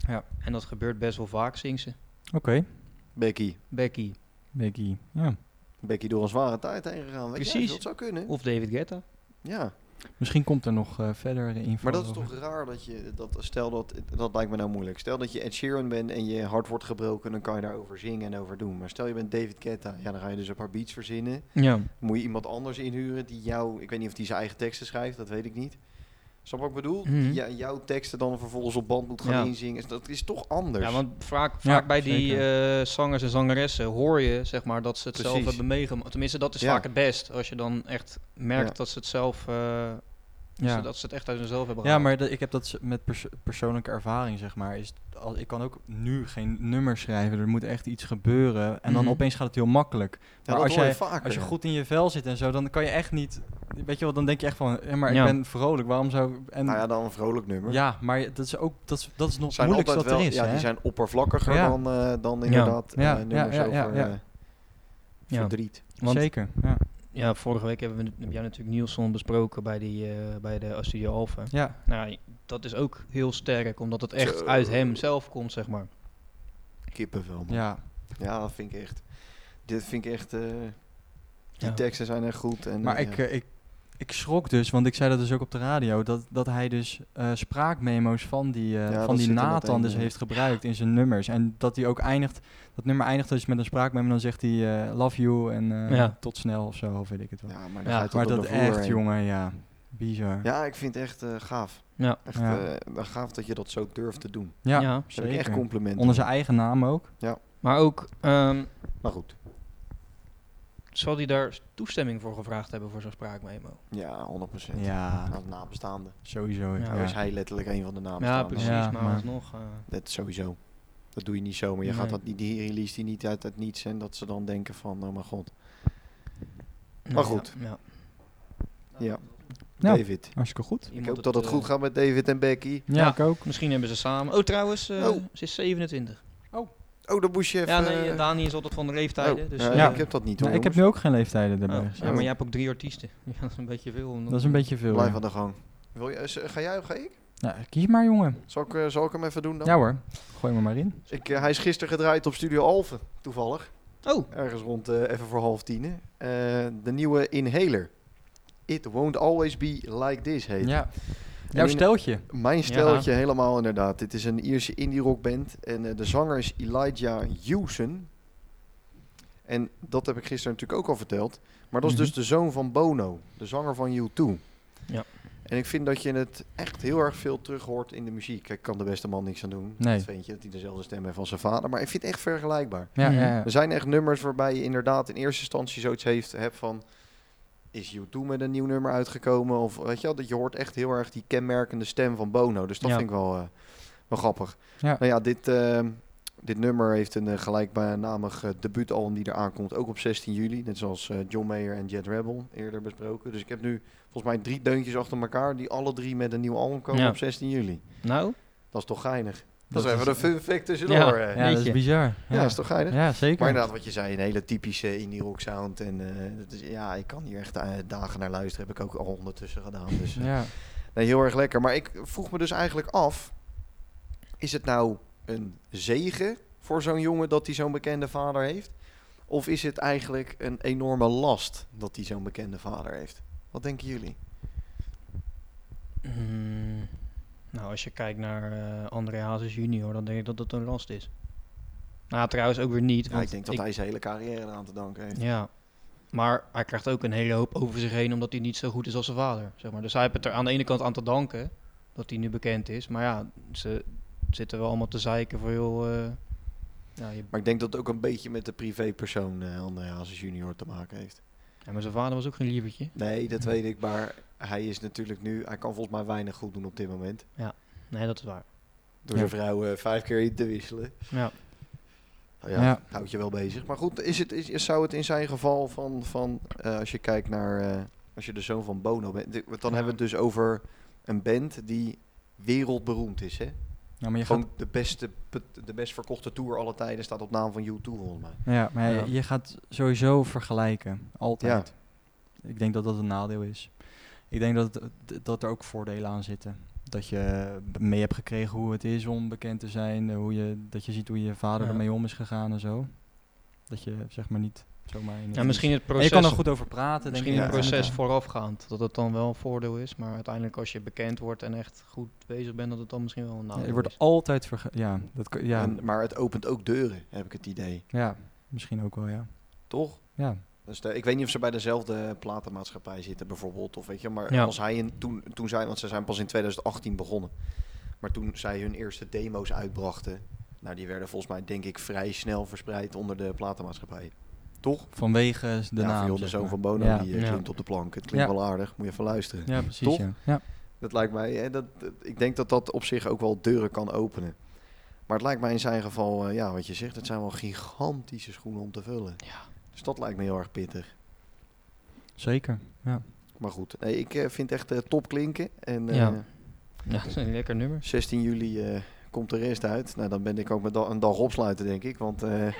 [SPEAKER 1] Ja.
[SPEAKER 3] En dat gebeurt best wel vaak, zingt ze.
[SPEAKER 1] Oké,
[SPEAKER 2] Becky.
[SPEAKER 3] Becky
[SPEAKER 1] Becky. Ja.
[SPEAKER 2] Becky door een zware tijd heen gegaan. Weet
[SPEAKER 3] Precies.
[SPEAKER 2] Je, dat zou kunnen.
[SPEAKER 3] of David Guetta.
[SPEAKER 2] Ja,
[SPEAKER 1] Misschien komt er nog eh, verdere info
[SPEAKER 2] maar dat is
[SPEAKER 1] over.
[SPEAKER 2] toch raar dat je, dat, stel dat, dat lijkt me nou moeilijk. Stel dat je Ed Sheeran bent en je hart wordt gebroken, dan kan je daarover zingen en over doen. Maar stel je bent David Guetta, ja dan ga je dus een paar beats verzinnen.
[SPEAKER 3] Ja.
[SPEAKER 2] Moet je iemand anders inhuren die jou... Ik weet niet of die zijn eigen teksten schrijft, dat weet ik niet. Snap wat ik bedoel?
[SPEAKER 3] Mhm.
[SPEAKER 2] Die jou- jouw teksten dan vervolgens op band moet gaan
[SPEAKER 3] Ja.
[SPEAKER 2] inzingen. Dat is toch anders.
[SPEAKER 3] ja, want vaak,
[SPEAKER 1] Ja,
[SPEAKER 3] vaak bij die
[SPEAKER 1] zeker.
[SPEAKER 3] eh, zangers en zangeressen hoor je zeg maar dat ze het zelf
[SPEAKER 2] Precies.
[SPEAKER 3] hebben meegemaakt. Tenminste, dat is
[SPEAKER 2] Ja.
[SPEAKER 3] vaak het best als je dan echt merkt
[SPEAKER 2] Ja.
[SPEAKER 3] dat ze het zelf, eh,
[SPEAKER 1] Ja.
[SPEAKER 3] dat ze het echt uit hunzelf hebben
[SPEAKER 1] Ja,
[SPEAKER 3] gehaald.
[SPEAKER 1] maar dat- ik heb dat s- met pers- persoonlijke ervaring, zeg maar. Is t- al, ik kan ook nu geen nummer schrijven. Er moet echt iets gebeuren. En dan
[SPEAKER 3] Mhm.
[SPEAKER 1] opeens gaat het heel makkelijk.
[SPEAKER 2] Ja,
[SPEAKER 1] Maar
[SPEAKER 2] dat
[SPEAKER 1] als
[SPEAKER 2] hoor
[SPEAKER 1] jij-
[SPEAKER 2] vaker.
[SPEAKER 1] Als je goed in je vel zit en zo, dan kan je echt niet... Weet je wel, dan denk je echt van... Ja, maar
[SPEAKER 3] Ja.
[SPEAKER 1] ik ben vrolijk, waarom zou... ik- En,
[SPEAKER 2] Nou ja, dan een vrolijk nummer.
[SPEAKER 1] ja, maar je- dat is ook dat is, dat is nog het
[SPEAKER 2] zijn
[SPEAKER 1] moeilijkste
[SPEAKER 2] altijd
[SPEAKER 1] dat
[SPEAKER 2] wel,
[SPEAKER 1] er is,
[SPEAKER 2] ja,
[SPEAKER 1] hè?
[SPEAKER 2] die zijn oppervlakkiger
[SPEAKER 1] Ja.
[SPEAKER 2] dan, eh, dan inderdaad eh,
[SPEAKER 1] Ja,
[SPEAKER 2] nummers
[SPEAKER 1] ja, ja, ja,
[SPEAKER 2] over
[SPEAKER 1] ja.
[SPEAKER 2] eh,
[SPEAKER 3] Ja.
[SPEAKER 2] verdriet.
[SPEAKER 3] want-
[SPEAKER 1] Zeker, ja.
[SPEAKER 3] Ja, vorige week hebben we heb jij natuurlijk Nielsen besproken bij, die, eh, bij de Studio Alpha.
[SPEAKER 1] Ja,
[SPEAKER 3] Nou, dat is ook heel sterk, omdat het echt
[SPEAKER 2] Zo.
[SPEAKER 3] uit hem zelf komt, zeg maar.
[SPEAKER 2] Kippenvel. man. Ja.
[SPEAKER 1] ja.
[SPEAKER 2] dat vind ik echt... Dit vind ik echt... eh, die
[SPEAKER 3] Ja.
[SPEAKER 2] teksten zijn echt goed. En,
[SPEAKER 1] Maar
[SPEAKER 2] eh,
[SPEAKER 1] ik,
[SPEAKER 2] ja.
[SPEAKER 1] eh, ik, ik schrok dus, want ik zei dat dus ook op de radio, dat, dat hij dus eh, spraakmemo's van die, eh,
[SPEAKER 2] Ja,
[SPEAKER 1] van
[SPEAKER 2] dat
[SPEAKER 1] die
[SPEAKER 2] zit er
[SPEAKER 1] Nathan
[SPEAKER 2] meteen
[SPEAKER 1] dus
[SPEAKER 2] in.
[SPEAKER 1] heeft gebruikt in zijn nummers. En dat hij ook eindigt, dat nummer eindigt dus met een spraakmemo, dan zegt hij eh, love you en eh,
[SPEAKER 3] Ja.
[SPEAKER 1] tot snel of zo, of weet ik het wel.
[SPEAKER 2] ja, maar,
[SPEAKER 3] Ja,
[SPEAKER 2] ja,
[SPEAKER 1] maar dat echt, jongen, ja. Bizar. Ja,
[SPEAKER 2] Ja, ik vind het echt eh, gaaf.
[SPEAKER 3] Ja.
[SPEAKER 2] Echt
[SPEAKER 1] Ja.
[SPEAKER 2] eh, gaaf dat je dat zo durft te doen.
[SPEAKER 1] ja,
[SPEAKER 3] Ja.
[SPEAKER 2] Daar heb ik echt
[SPEAKER 1] zeker.
[SPEAKER 2] complimenten.
[SPEAKER 1] Onder
[SPEAKER 2] voor.
[SPEAKER 1] zijn eigen naam ook.
[SPEAKER 3] Maar ook, ehm,
[SPEAKER 2] Maar goed.
[SPEAKER 3] zal hij daar toestemming voor gevraagd hebben voor zo'n spraakmemo?
[SPEAKER 2] Ja, 100%.
[SPEAKER 1] Ja,
[SPEAKER 2] Aan de nabestaanden.
[SPEAKER 1] sowieso.
[SPEAKER 3] Ja,
[SPEAKER 1] Ja,
[SPEAKER 2] Nou is hij letterlijk een van de
[SPEAKER 3] Ja,
[SPEAKER 2] nabestaanden.
[SPEAKER 3] precies,
[SPEAKER 1] Ja,
[SPEAKER 3] maar,
[SPEAKER 1] maar-
[SPEAKER 3] alsnog... eh,
[SPEAKER 2] Dat sowieso. Dat doe je niet zomaar. Je gaat
[SPEAKER 3] Nee.
[SPEAKER 2] dat niet, die release die niet uit het niets en dat ze dan denken van, oh mijn god.
[SPEAKER 3] nou
[SPEAKER 2] Maar
[SPEAKER 3] ja,
[SPEAKER 2] goed.
[SPEAKER 3] ja.
[SPEAKER 2] Ja.
[SPEAKER 1] Nou,
[SPEAKER 2] David.
[SPEAKER 1] Hartstikke goed.
[SPEAKER 2] Ik
[SPEAKER 3] Iemand
[SPEAKER 2] hoop dat het
[SPEAKER 3] eh,
[SPEAKER 2] goed gaat met David en Becky.
[SPEAKER 1] Ja,
[SPEAKER 3] Ja.
[SPEAKER 1] ik ook.
[SPEAKER 3] Misschien hebben ze samen... Oh, trouwens, eh,
[SPEAKER 2] Oh.
[SPEAKER 3] ze is 27.
[SPEAKER 2] Oh, dat moest je even...
[SPEAKER 3] ja, nee,
[SPEAKER 2] eh,
[SPEAKER 3] Dani is altijd van de leeftijden.
[SPEAKER 2] oh,
[SPEAKER 3] dus,
[SPEAKER 2] ja,
[SPEAKER 3] eh,
[SPEAKER 2] ik heb dat niet hoor.
[SPEAKER 1] Nou, ik heb nu
[SPEAKER 2] jongens.
[SPEAKER 1] ook geen leeftijden erbij
[SPEAKER 3] oh, ja,
[SPEAKER 1] gezet.
[SPEAKER 3] maar jij hebt ook drie artiesten. Ja, dat is een beetje veel. omdat-
[SPEAKER 1] Dat is een beetje veel.
[SPEAKER 2] Blijf
[SPEAKER 1] ja.
[SPEAKER 2] aan de gang. Wil je, eh, ga jij of ga ik?
[SPEAKER 1] Nou, kies maar, jongen.
[SPEAKER 2] Zal ik, eh, zal ik hem even doen dan?
[SPEAKER 1] Ja hoor, gooi me maar in.
[SPEAKER 2] Ik, eh, hij is gisteren gedraaid op Studio Alphen, toevallig.
[SPEAKER 3] Oh,
[SPEAKER 2] Ergens rond eh, even voor half tien. hè. Eh, de nieuwe Inhaler. It Won't Always Be Like This heet.
[SPEAKER 1] Ja.
[SPEAKER 2] En
[SPEAKER 1] Jouw
[SPEAKER 2] in-
[SPEAKER 1] steltje.
[SPEAKER 2] Mijn steltje helemaal inderdaad. Dit is een Ierse indie rock band en eh, de zanger is Elijah Hewson. En dat heb ik gisteren natuurlijk ook al verteld. Maar dat is
[SPEAKER 1] Mhm.
[SPEAKER 2] dus de zoon van Bono, de zanger van U2.
[SPEAKER 3] Ja.
[SPEAKER 2] En ik vind dat je het echt heel erg veel terug hoort in de muziek. Kijk, kan de beste man niks aan doen.
[SPEAKER 1] Nee.
[SPEAKER 2] Dat vind je, dat hij dezelfde stem heeft als zijn vader. Maar ik vind het echt vergelijkbaar.
[SPEAKER 1] Ja,
[SPEAKER 3] Mhm.
[SPEAKER 1] ja, ja.
[SPEAKER 2] Er zijn echt nummers waarbij je inderdaad in eerste instantie zoiets heeft, hebt van... Is U2 met een nieuw nummer uitgekomen? Of weet je wel, dat je hoort echt heel erg die kenmerkende stem van Bono. Dus dat
[SPEAKER 1] Ja.
[SPEAKER 2] vind ik wel, eh, wel grappig.
[SPEAKER 1] Ja.
[SPEAKER 2] Nou ja, dit, eh, dit nummer heeft een eh, gelijknamig eh, debuutalbum die eraan komt. Ook op 16 juli, net zoals eh, John Mayer en Jet Rebel eerder besproken. Dus ik heb nu volgens mij drie deuntjes achter elkaar die alle drie met een nieuw album komen
[SPEAKER 3] Ja.
[SPEAKER 2] op 16 juli.
[SPEAKER 3] Nou,
[SPEAKER 2] Dat is toch geinig? Dat,
[SPEAKER 1] Dat
[SPEAKER 2] is even
[SPEAKER 1] is-
[SPEAKER 2] een fun fact tussendoor. eh. Ja,
[SPEAKER 1] Ja, dat is
[SPEAKER 3] Jeetje.
[SPEAKER 1] bizar. Ja,
[SPEAKER 2] dat is toch geinig?
[SPEAKER 1] Ja, zeker.
[SPEAKER 2] Maar inderdaad, wat je zei, een hele typische indie rock sound. En eh, dat is- ja, ik kan hier echt eh, dagen naar luisteren. Heb ik ook al ondertussen gedaan. Dus eh,
[SPEAKER 1] Ja.
[SPEAKER 2] nee, heel erg lekker. Maar ik vroeg me dus eigenlijk af: is het nou een zegen voor zo'n jongen dat hij zo'n bekende vader heeft? Of is het eigenlijk een enorme last dat hij zo'n bekende vader heeft? Wat denken jullie?
[SPEAKER 3] mm, nou als je kijkt naar eh André Hazes junior, dan denk ik dat dat een last is. Nou, trouwens ook weer niet.
[SPEAKER 2] Ja,
[SPEAKER 3] want
[SPEAKER 2] ik denk dat hij zijn hele carrière eraan te danken heeft.
[SPEAKER 3] Ja, maar hij krijgt ook een hele hoop over zich heen omdat hij niet zo goed is als zijn vader. Zeg maar. Dus hij heeft het er aan de ene kant aan te danken dat hij nu bekend is. Maar ja, ze zitten wel allemaal te zeiken voor heel... eh, ja, je,
[SPEAKER 2] Maar ik denk dat het ook een beetje met de privépersoon eh André Hazes junior te maken heeft.
[SPEAKER 3] ja, maar zijn vader was ook geen lievertje.
[SPEAKER 2] Nee, dat weet ik. Maar hij is natuurlijk nu... Hij kan volgens mij weinig goed doen op dit moment.
[SPEAKER 3] Nee, dat is waar.
[SPEAKER 2] Door
[SPEAKER 1] Ja.
[SPEAKER 2] zijn vrouw eh, vijf keer in te wisselen.
[SPEAKER 3] Ja.
[SPEAKER 2] Nou ja,
[SPEAKER 1] Ja.
[SPEAKER 2] houdt je wel bezig. Maar goed, is het, is, zou het in zijn geval van... van eh, als je kijkt naar... eh, als je de zoon van Bono bent... dit- Want dan
[SPEAKER 3] Ja.
[SPEAKER 2] hebben we het dus over een band die wereldberoemd is, hè?
[SPEAKER 1] Ja, Nou, maar je gaat
[SPEAKER 2] Gewoon de, beste, put- de best verkochte tour alle tijden staat op naam van U2, volgens mij.
[SPEAKER 1] Ja, maar
[SPEAKER 3] Ja.
[SPEAKER 1] Je, je gaat sowieso vergelijken. Altijd. Ik denk dat dat een nadeel is. Ik denk dat, het- dat er ook voordelen aan zitten. Dat je mee hebt gekregen hoe het is om bekend te zijn. eh, Hoe je, dat je ziet hoe je vader
[SPEAKER 3] Ja.
[SPEAKER 1] ermee om is gegaan en zo. Dat je zeg maar niet zomaar... In
[SPEAKER 3] Ja, misschien het
[SPEAKER 1] En
[SPEAKER 3] proces,
[SPEAKER 1] dus je kan er goed over praten.
[SPEAKER 3] misschien
[SPEAKER 1] denk
[SPEAKER 2] in
[SPEAKER 1] ik.
[SPEAKER 3] het
[SPEAKER 1] Ja.
[SPEAKER 3] proces voorafgaand, dat het dan wel een voordeel is. Maar uiteindelijk als je bekend wordt en echt goed bezig bent, dat het dan misschien wel een
[SPEAKER 1] Ja,
[SPEAKER 3] nadeel
[SPEAKER 1] je wordt
[SPEAKER 3] is.
[SPEAKER 1] altijd vergeten. Ja, dat, kan- ja,
[SPEAKER 2] En, maar het opent ook deuren, heb ik het idee.
[SPEAKER 1] ja, misschien ook wel, ja.
[SPEAKER 2] Toch?
[SPEAKER 1] Ja,
[SPEAKER 2] Dus de- ik weet niet of ze bij dezelfde platenmaatschappij zitten bijvoorbeeld. Of weet je, maar
[SPEAKER 3] Ja.
[SPEAKER 2] als hij in, toen, toen zij, want ze zijn pas in 2018 begonnen. Maar toen zij hun eerste demo's uitbrachten. Nou, die werden volgens mij denk ik vrij snel verspreid onder de platenmaatschappij. Toch?
[SPEAKER 1] vanwege de
[SPEAKER 2] ja,
[SPEAKER 1] naam.
[SPEAKER 2] van, joh, de
[SPEAKER 1] zeg
[SPEAKER 2] zoon
[SPEAKER 1] maar.
[SPEAKER 2] van Bono
[SPEAKER 1] ja.
[SPEAKER 2] die eh,
[SPEAKER 3] Ja.
[SPEAKER 2] klimt op de plank. Het klinkt
[SPEAKER 1] Ja.
[SPEAKER 2] wel aardig, moet je even luisteren.
[SPEAKER 1] Ja, precies.
[SPEAKER 2] Toch?
[SPEAKER 1] Ja. Ja.
[SPEAKER 2] Dat lijkt mij, hè, dat, dat- ik denk dat dat op zich ook wel deuren kan openen. Maar het lijkt mij in zijn geval, eh, ja, wat je zegt, het zijn wel gigantische schoenen om te vullen.
[SPEAKER 3] Ja.
[SPEAKER 2] Dus dat lijkt me heel erg pittig.
[SPEAKER 1] Zeker. Ja.
[SPEAKER 2] Maar goed, nee, ik eh, vind het echt eh, top klinken. En eh,
[SPEAKER 3] Ja. Ja, dat is een lekker nummer.
[SPEAKER 2] 16 juli eh, komt de rest uit. Nou, dan ben ik ook met da- een dag opsluiten, denk ik. Want eh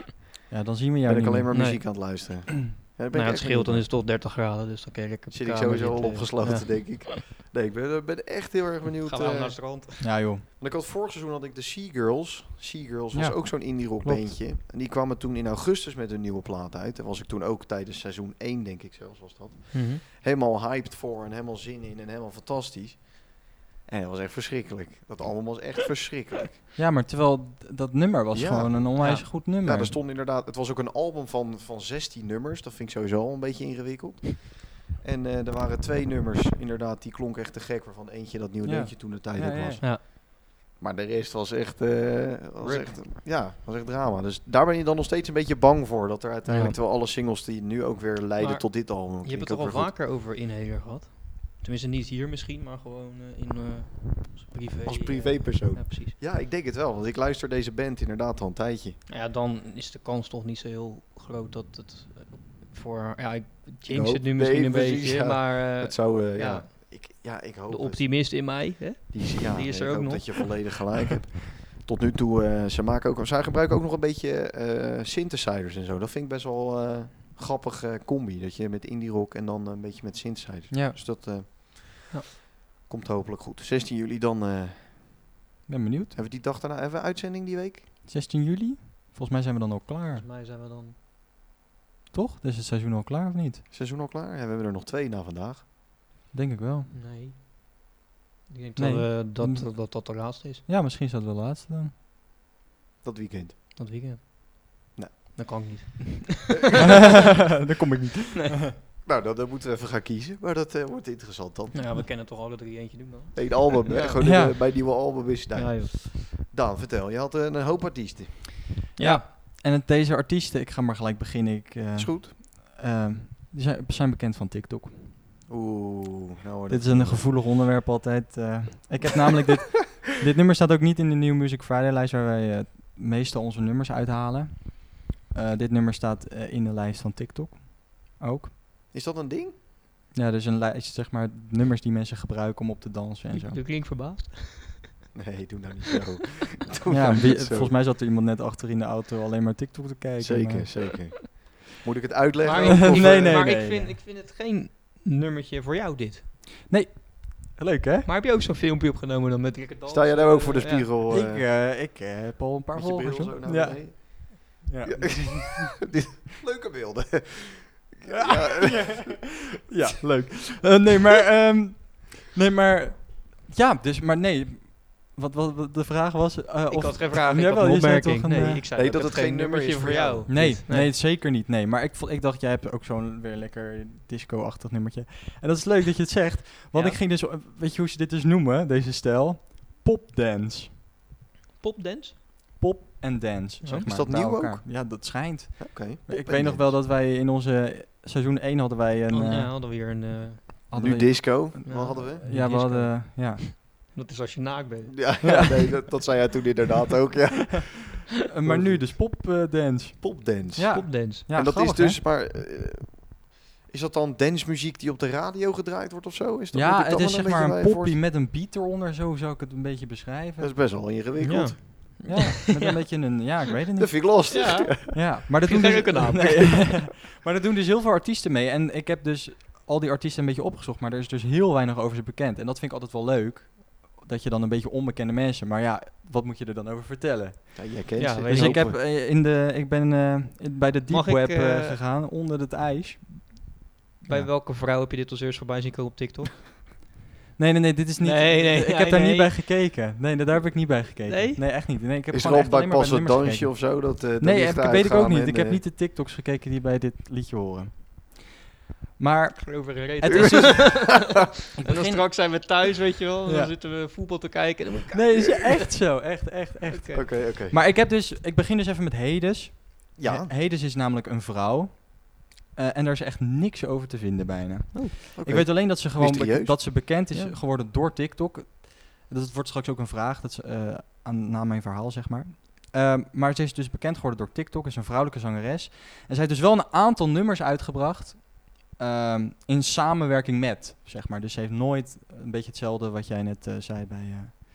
[SPEAKER 1] ja, dan zien we jou
[SPEAKER 2] ben
[SPEAKER 1] niet
[SPEAKER 2] ik alleen
[SPEAKER 1] meer.
[SPEAKER 2] maar
[SPEAKER 3] Nee.
[SPEAKER 2] muziek aan het luisteren. Ja, daar ben ik
[SPEAKER 3] Nou, het
[SPEAKER 2] echt
[SPEAKER 3] scheelt, dan is
[SPEAKER 2] benieuwd
[SPEAKER 3] het tot 30 graden, dus dan kun je lekker
[SPEAKER 2] naar. Zit
[SPEAKER 3] op de
[SPEAKER 2] ik
[SPEAKER 3] kamer eh,
[SPEAKER 2] sowieso al
[SPEAKER 3] zitten.
[SPEAKER 2] opgesloten, denk ik. Nee, ik ben, eh, ben echt heel erg benieuwd.
[SPEAKER 3] Gaan we
[SPEAKER 2] eh,
[SPEAKER 3] naar het strand.
[SPEAKER 1] Ja, joh.
[SPEAKER 2] want ik had vorig seizoen had ik de Sea Girls. Sea Girls was
[SPEAKER 1] Ja,
[SPEAKER 2] ook zo'n indie rock
[SPEAKER 1] klopt.
[SPEAKER 2] bandje. En die kwamen toen in augustus met hun nieuwe plaat uit. En was ik toen ook tijdens seizoen 1, denk ik zelfs, was dat.
[SPEAKER 1] Mhm.
[SPEAKER 2] helemaal hyped voor en helemaal zin in en helemaal fantastisch. En dat was echt verschrikkelijk. Dat album was echt verschrikkelijk.
[SPEAKER 1] Ja, maar terwijl d- dat nummer was
[SPEAKER 2] Ja.
[SPEAKER 1] gewoon een onwijs
[SPEAKER 3] Ja.
[SPEAKER 1] goed nummer.
[SPEAKER 2] Nou, er stond inderdaad, het was ook een album van, van 16 nummers. Dat vind ik sowieso al een beetje ingewikkeld. En eh, er waren twee nummers, inderdaad, die klonken echt te gek. Waarvan eentje dat nieuwe
[SPEAKER 1] Ja.
[SPEAKER 2] deuntje toen de tijd
[SPEAKER 1] Ja,
[SPEAKER 2] ook
[SPEAKER 1] ja,
[SPEAKER 2] was.
[SPEAKER 3] ja.
[SPEAKER 2] Maar de rest was echt, eh, was
[SPEAKER 1] Rip.
[SPEAKER 2] echt, ja, was echt drama. Dus daar ben je dan nog steeds een beetje bang voor. Dat er uiteindelijk,
[SPEAKER 3] Ja.
[SPEAKER 2] terwijl alle singles die nu ook weer leiden
[SPEAKER 3] Maar
[SPEAKER 2] tot dit album.
[SPEAKER 3] Je hebt
[SPEAKER 2] klinken
[SPEAKER 3] het
[SPEAKER 2] ook
[SPEAKER 3] toch al
[SPEAKER 2] weer goed.
[SPEAKER 3] vaker over inhaler gehad? Tenminste, niet hier misschien, maar gewoon eh, in eh, als privé.
[SPEAKER 2] Als
[SPEAKER 3] eh,
[SPEAKER 2] privépersoon.
[SPEAKER 3] ja, precies.
[SPEAKER 2] Ja, ik denk het wel. Want ik luister deze band inderdaad al een tijdje.
[SPEAKER 3] Nou ja, dan is de kans toch niet zo heel groot dat het eh, voor... Ja, ik
[SPEAKER 2] Ik
[SPEAKER 3] jinx
[SPEAKER 2] hoop-
[SPEAKER 3] het nu misschien
[SPEAKER 2] nee,
[SPEAKER 3] een
[SPEAKER 2] precies,
[SPEAKER 3] beetje,
[SPEAKER 2] ja.
[SPEAKER 3] maar eh,
[SPEAKER 2] het zou, eh, ja.
[SPEAKER 3] ja.
[SPEAKER 2] Ik, ja, ik hoop
[SPEAKER 3] de
[SPEAKER 2] het.
[SPEAKER 3] optimist in mij, hè?
[SPEAKER 2] Die is, ja,
[SPEAKER 3] Die
[SPEAKER 2] nee,
[SPEAKER 3] is er
[SPEAKER 2] ik
[SPEAKER 3] ook
[SPEAKER 2] hoop
[SPEAKER 3] nog.
[SPEAKER 2] dat je volledig gelijk hebt. Tot nu toe, eh, ze maken ook, zij gebruiken ook nog een beetje eh, synthesizers en zo. Dat vind ik best wel eh, grappig eh, combi. Dat je met indie rock en dan eh, een beetje met synthesizers.
[SPEAKER 1] Ja,
[SPEAKER 2] Dus dat eh,
[SPEAKER 3] Ja.
[SPEAKER 2] komt hopelijk goed. 16 juli dan. eh,
[SPEAKER 1] ben benieuwd.
[SPEAKER 2] hebben we die dag daarna hebben we een uitzending die week?
[SPEAKER 1] 16 juli? Volgens mij zijn we dan al klaar,
[SPEAKER 3] Volgens mij zijn we dan...
[SPEAKER 1] toch? Dus het seizoen al klaar of niet?
[SPEAKER 2] Seizoen al klaar? Ja, we hebben er nog twee na vandaag.
[SPEAKER 1] Denk ik wel.
[SPEAKER 3] Nee. Ik denk
[SPEAKER 1] Nee.
[SPEAKER 3] dat, eh, dat,
[SPEAKER 1] Mm.
[SPEAKER 3] dat, dat dat de laatste is,
[SPEAKER 1] Ja, misschien is dat wel de laatste dan.
[SPEAKER 2] dat weekend.
[SPEAKER 3] dat weekend.
[SPEAKER 2] Nou.
[SPEAKER 3] Dat kan ik niet.
[SPEAKER 1] Daar kom ik niet.
[SPEAKER 2] Nou, dan, dan moeten we even gaan kiezen. Maar dat eh, wordt interessant dan.
[SPEAKER 3] Nou ja, we kennen toch alle drie eentje doen dan.
[SPEAKER 2] Eén album, hè?
[SPEAKER 3] Ja.
[SPEAKER 2] Gewoon eh, bij
[SPEAKER 1] Ja.
[SPEAKER 2] mijn nieuwe album is daar.
[SPEAKER 3] joh.
[SPEAKER 2] Daan, vertel. Je had eh, een, een hoop artiesten.
[SPEAKER 1] Ja. En het, deze artiesten, ik ga maar gelijk beginnen. Ik, eh,
[SPEAKER 2] Is goed.
[SPEAKER 1] ehm, die zijn, zijn bekend van TikTok.
[SPEAKER 2] Oeh, nou wordt
[SPEAKER 1] Dit
[SPEAKER 2] het-
[SPEAKER 1] is een gevoelig onderwerp altijd. eh. ik heb namelijk dit... Dit nummer staat ook niet in de New Music Friday lijst... waar wij eh, meestal onze nummers uithalen. Eh, dit nummer staat eh, in de lijst van TikTok. Ook.
[SPEAKER 2] Is dat een ding?
[SPEAKER 1] Ja, dus een lijst, zeg maar, nummers die mensen gebruiken om op te dansen en zo.
[SPEAKER 3] Dat klinkt verbaasd.
[SPEAKER 2] Nee, doe nou niet zo. Doe
[SPEAKER 1] Ja,
[SPEAKER 2] nou
[SPEAKER 1] wie-
[SPEAKER 2] niet zo.
[SPEAKER 1] volgens mij zat er iemand net achter in de auto alleen maar TikTok te kijken.
[SPEAKER 2] Zeker,
[SPEAKER 1] maar-
[SPEAKER 2] zeker. Moet ik het uitleggen?
[SPEAKER 3] Maar,
[SPEAKER 2] ook,
[SPEAKER 1] Nee,
[SPEAKER 2] of,
[SPEAKER 3] ik,
[SPEAKER 1] nee,
[SPEAKER 2] eh,
[SPEAKER 1] nee,
[SPEAKER 3] maar
[SPEAKER 1] nee.
[SPEAKER 3] ik, vind, ik vind het geen nummertje voor jou dit.
[SPEAKER 1] Leuk, hè?
[SPEAKER 3] Maar heb je ook zo'n filmpje opgenomen dan met Rickert Dals?
[SPEAKER 2] Sta jij daar ook voor de
[SPEAKER 3] Ja.
[SPEAKER 2] spiegel?
[SPEAKER 1] ik
[SPEAKER 2] eh,
[SPEAKER 1] eh, ik eh, heb al een paar
[SPEAKER 2] met je bril
[SPEAKER 1] volgers.
[SPEAKER 2] zo
[SPEAKER 1] hoor.
[SPEAKER 2] naar
[SPEAKER 1] ja.
[SPEAKER 2] beneden?
[SPEAKER 1] Ja.
[SPEAKER 2] Ja. Dit- Leuke beelden.
[SPEAKER 1] Ja, leuk. Eh, nee, maar... ehm, nee, maar... Ja, dus... Maar nee... Wat, wat, wat de vraag was... eh,
[SPEAKER 3] Ik
[SPEAKER 1] of,
[SPEAKER 3] had geen vraag, ik
[SPEAKER 1] Jawel,
[SPEAKER 3] had een
[SPEAKER 1] je zei
[SPEAKER 3] opmerking.
[SPEAKER 1] toch een,
[SPEAKER 3] nee,
[SPEAKER 1] eh,
[SPEAKER 3] ik zei
[SPEAKER 2] Nee,
[SPEAKER 3] dat
[SPEAKER 2] dat
[SPEAKER 3] het
[SPEAKER 2] het
[SPEAKER 3] geen
[SPEAKER 2] geen nummer
[SPEAKER 3] nummertje
[SPEAKER 2] is
[SPEAKER 3] voor
[SPEAKER 2] voor
[SPEAKER 3] jou.
[SPEAKER 2] jou.
[SPEAKER 1] Nee,
[SPEAKER 3] is.
[SPEAKER 1] nee, zeker niet. Nee, maar ik, vo- ik dacht, jij hebt ook zo'n weer lekker disco-achtig nummertje. En dat is leuk dat je het zegt. Want
[SPEAKER 3] Ja.
[SPEAKER 1] ik ging dus... Weet je hoe ze dit dus noemen, deze stijl? Popdance.
[SPEAKER 3] Popdance?
[SPEAKER 1] Pop en dance,
[SPEAKER 3] Ja.
[SPEAKER 1] zeg maar.
[SPEAKER 2] Is dat
[SPEAKER 1] bij
[SPEAKER 2] nieuw
[SPEAKER 1] elkaar.
[SPEAKER 2] ook?
[SPEAKER 1] Ja, dat schijnt.
[SPEAKER 2] Oké.
[SPEAKER 1] ik weet nog wel dat wij in onze... Seizoen 1 hadden wij een...
[SPEAKER 3] oh,
[SPEAKER 1] eh,
[SPEAKER 3] nee, hadden we hier een... eh,
[SPEAKER 1] hadden
[SPEAKER 2] Nu
[SPEAKER 1] we,
[SPEAKER 2] disco.
[SPEAKER 3] Ja.
[SPEAKER 2] Wat hadden we?
[SPEAKER 1] Ja, we
[SPEAKER 3] disco.
[SPEAKER 1] hadden... Ja.
[SPEAKER 3] dat is als je naakt bent.
[SPEAKER 2] Ja, ja, nee, dat, dat zei jij toen inderdaad ook, ja.
[SPEAKER 1] Eh, maar nu dus popdance.
[SPEAKER 2] Popdance.
[SPEAKER 1] Ja.
[SPEAKER 3] Popdance.
[SPEAKER 1] ja,
[SPEAKER 2] en dat
[SPEAKER 1] grappig,
[SPEAKER 2] is
[SPEAKER 1] hè?
[SPEAKER 2] dus, maar... eh, is dat dan dancemuziek die op de radio gedraaid wordt of zo? Is dat, moet
[SPEAKER 1] ja,
[SPEAKER 2] ik
[SPEAKER 1] het
[SPEAKER 2] dat
[SPEAKER 1] is
[SPEAKER 2] dan
[SPEAKER 1] zeg
[SPEAKER 2] beetje
[SPEAKER 1] maar een
[SPEAKER 2] bij
[SPEAKER 1] poppy
[SPEAKER 2] voorstellen?
[SPEAKER 1] met een beat eronder, zo zou ik het een beetje beschrijven.
[SPEAKER 2] Dat is best wel ingewikkeld.
[SPEAKER 1] ja, met een beetje een, ja, ik weet het
[SPEAKER 2] Dat
[SPEAKER 1] niet.
[SPEAKER 2] vind ik lastig.
[SPEAKER 3] Ja.
[SPEAKER 1] Ja, maar dat
[SPEAKER 3] Vind
[SPEAKER 1] doen
[SPEAKER 3] jij
[SPEAKER 1] dus,
[SPEAKER 3] ook een naam?
[SPEAKER 1] Nee. maar dat doen dus heel veel artiesten mee. En ik heb dus al die artiesten een beetje opgezocht, maar er is dus heel weinig over ze bekend. En dat vind ik altijd wel leuk, dat je dan een beetje onbekende mensen, maar ja, wat moet je er dan over vertellen?
[SPEAKER 2] Ja, jij kent
[SPEAKER 3] Ja,
[SPEAKER 2] ze.
[SPEAKER 3] weet
[SPEAKER 1] Dus ik, heb,
[SPEAKER 2] hoop-
[SPEAKER 1] eh, in de, ik ben eh, in- bij de deep
[SPEAKER 3] Mag ik,
[SPEAKER 1] web eh,
[SPEAKER 3] eh,
[SPEAKER 1] gegaan, onder het ijs.
[SPEAKER 3] Bij
[SPEAKER 1] Ja.
[SPEAKER 3] welke vrouw heb je dit als eerst voorbij zien komen op TikTok?
[SPEAKER 1] Nee, nee, nee, dit is niet.
[SPEAKER 3] Nee, nee,
[SPEAKER 1] ik
[SPEAKER 3] nee,
[SPEAKER 1] heb daar
[SPEAKER 3] nee.
[SPEAKER 1] niet bij gekeken. Nee, daar heb ik niet bij gekeken.
[SPEAKER 3] Nee?
[SPEAKER 1] echt niet. Nee, ik heb
[SPEAKER 2] Is er
[SPEAKER 1] gewoon
[SPEAKER 2] al
[SPEAKER 1] echt alleen
[SPEAKER 2] bij
[SPEAKER 1] maar bij
[SPEAKER 2] Pas
[SPEAKER 1] de
[SPEAKER 2] dat
[SPEAKER 1] nummers
[SPEAKER 2] Dansje
[SPEAKER 1] gekeken.
[SPEAKER 2] of zo? Dat, eh, de
[SPEAKER 1] Nee,
[SPEAKER 2] lichten
[SPEAKER 1] heb, ik weet ik ook
[SPEAKER 2] uitgaan
[SPEAKER 1] niet.
[SPEAKER 2] en,
[SPEAKER 1] ik heb
[SPEAKER 2] eh,
[SPEAKER 1] niet de TikToks gekeken die bij dit liedje horen. Maar
[SPEAKER 3] Over een reet.
[SPEAKER 1] het is dus. Ik
[SPEAKER 3] en dan
[SPEAKER 1] begin-
[SPEAKER 3] straks zijn we thuis, weet je wel. en
[SPEAKER 1] Ja.
[SPEAKER 3] Dan zitten we voetbal te kijken. En dan moet ik
[SPEAKER 1] Nee, is echt zo. Echt, echt, echt.
[SPEAKER 3] Oké.
[SPEAKER 2] Oké, oké.
[SPEAKER 1] Maar ik heb dus. Ik begin dus even met Hedes.
[SPEAKER 2] Ja,
[SPEAKER 1] He- Hedes is namelijk een vrouw. Eh, en daar is echt niks over te vinden bijna.
[SPEAKER 2] oké.
[SPEAKER 1] Ik weet alleen dat ze gewoon be-
[SPEAKER 2] Mysterieus.
[SPEAKER 1] dat ze bekend is
[SPEAKER 3] Ja.
[SPEAKER 1] geworden door TikTok. Dat wordt straks ook een vraag dat ze, eh, aan, na mijn verhaal, zeg maar. Ehm, maar ze is dus bekend geworden door TikTok, is een vrouwelijke zangeres. En zij heeft dus wel een aantal nummers uitgebracht ehm, in samenwerking met, zeg maar. Dus ze heeft nooit een beetje hetzelfde wat jij net eh, zei bij... eh.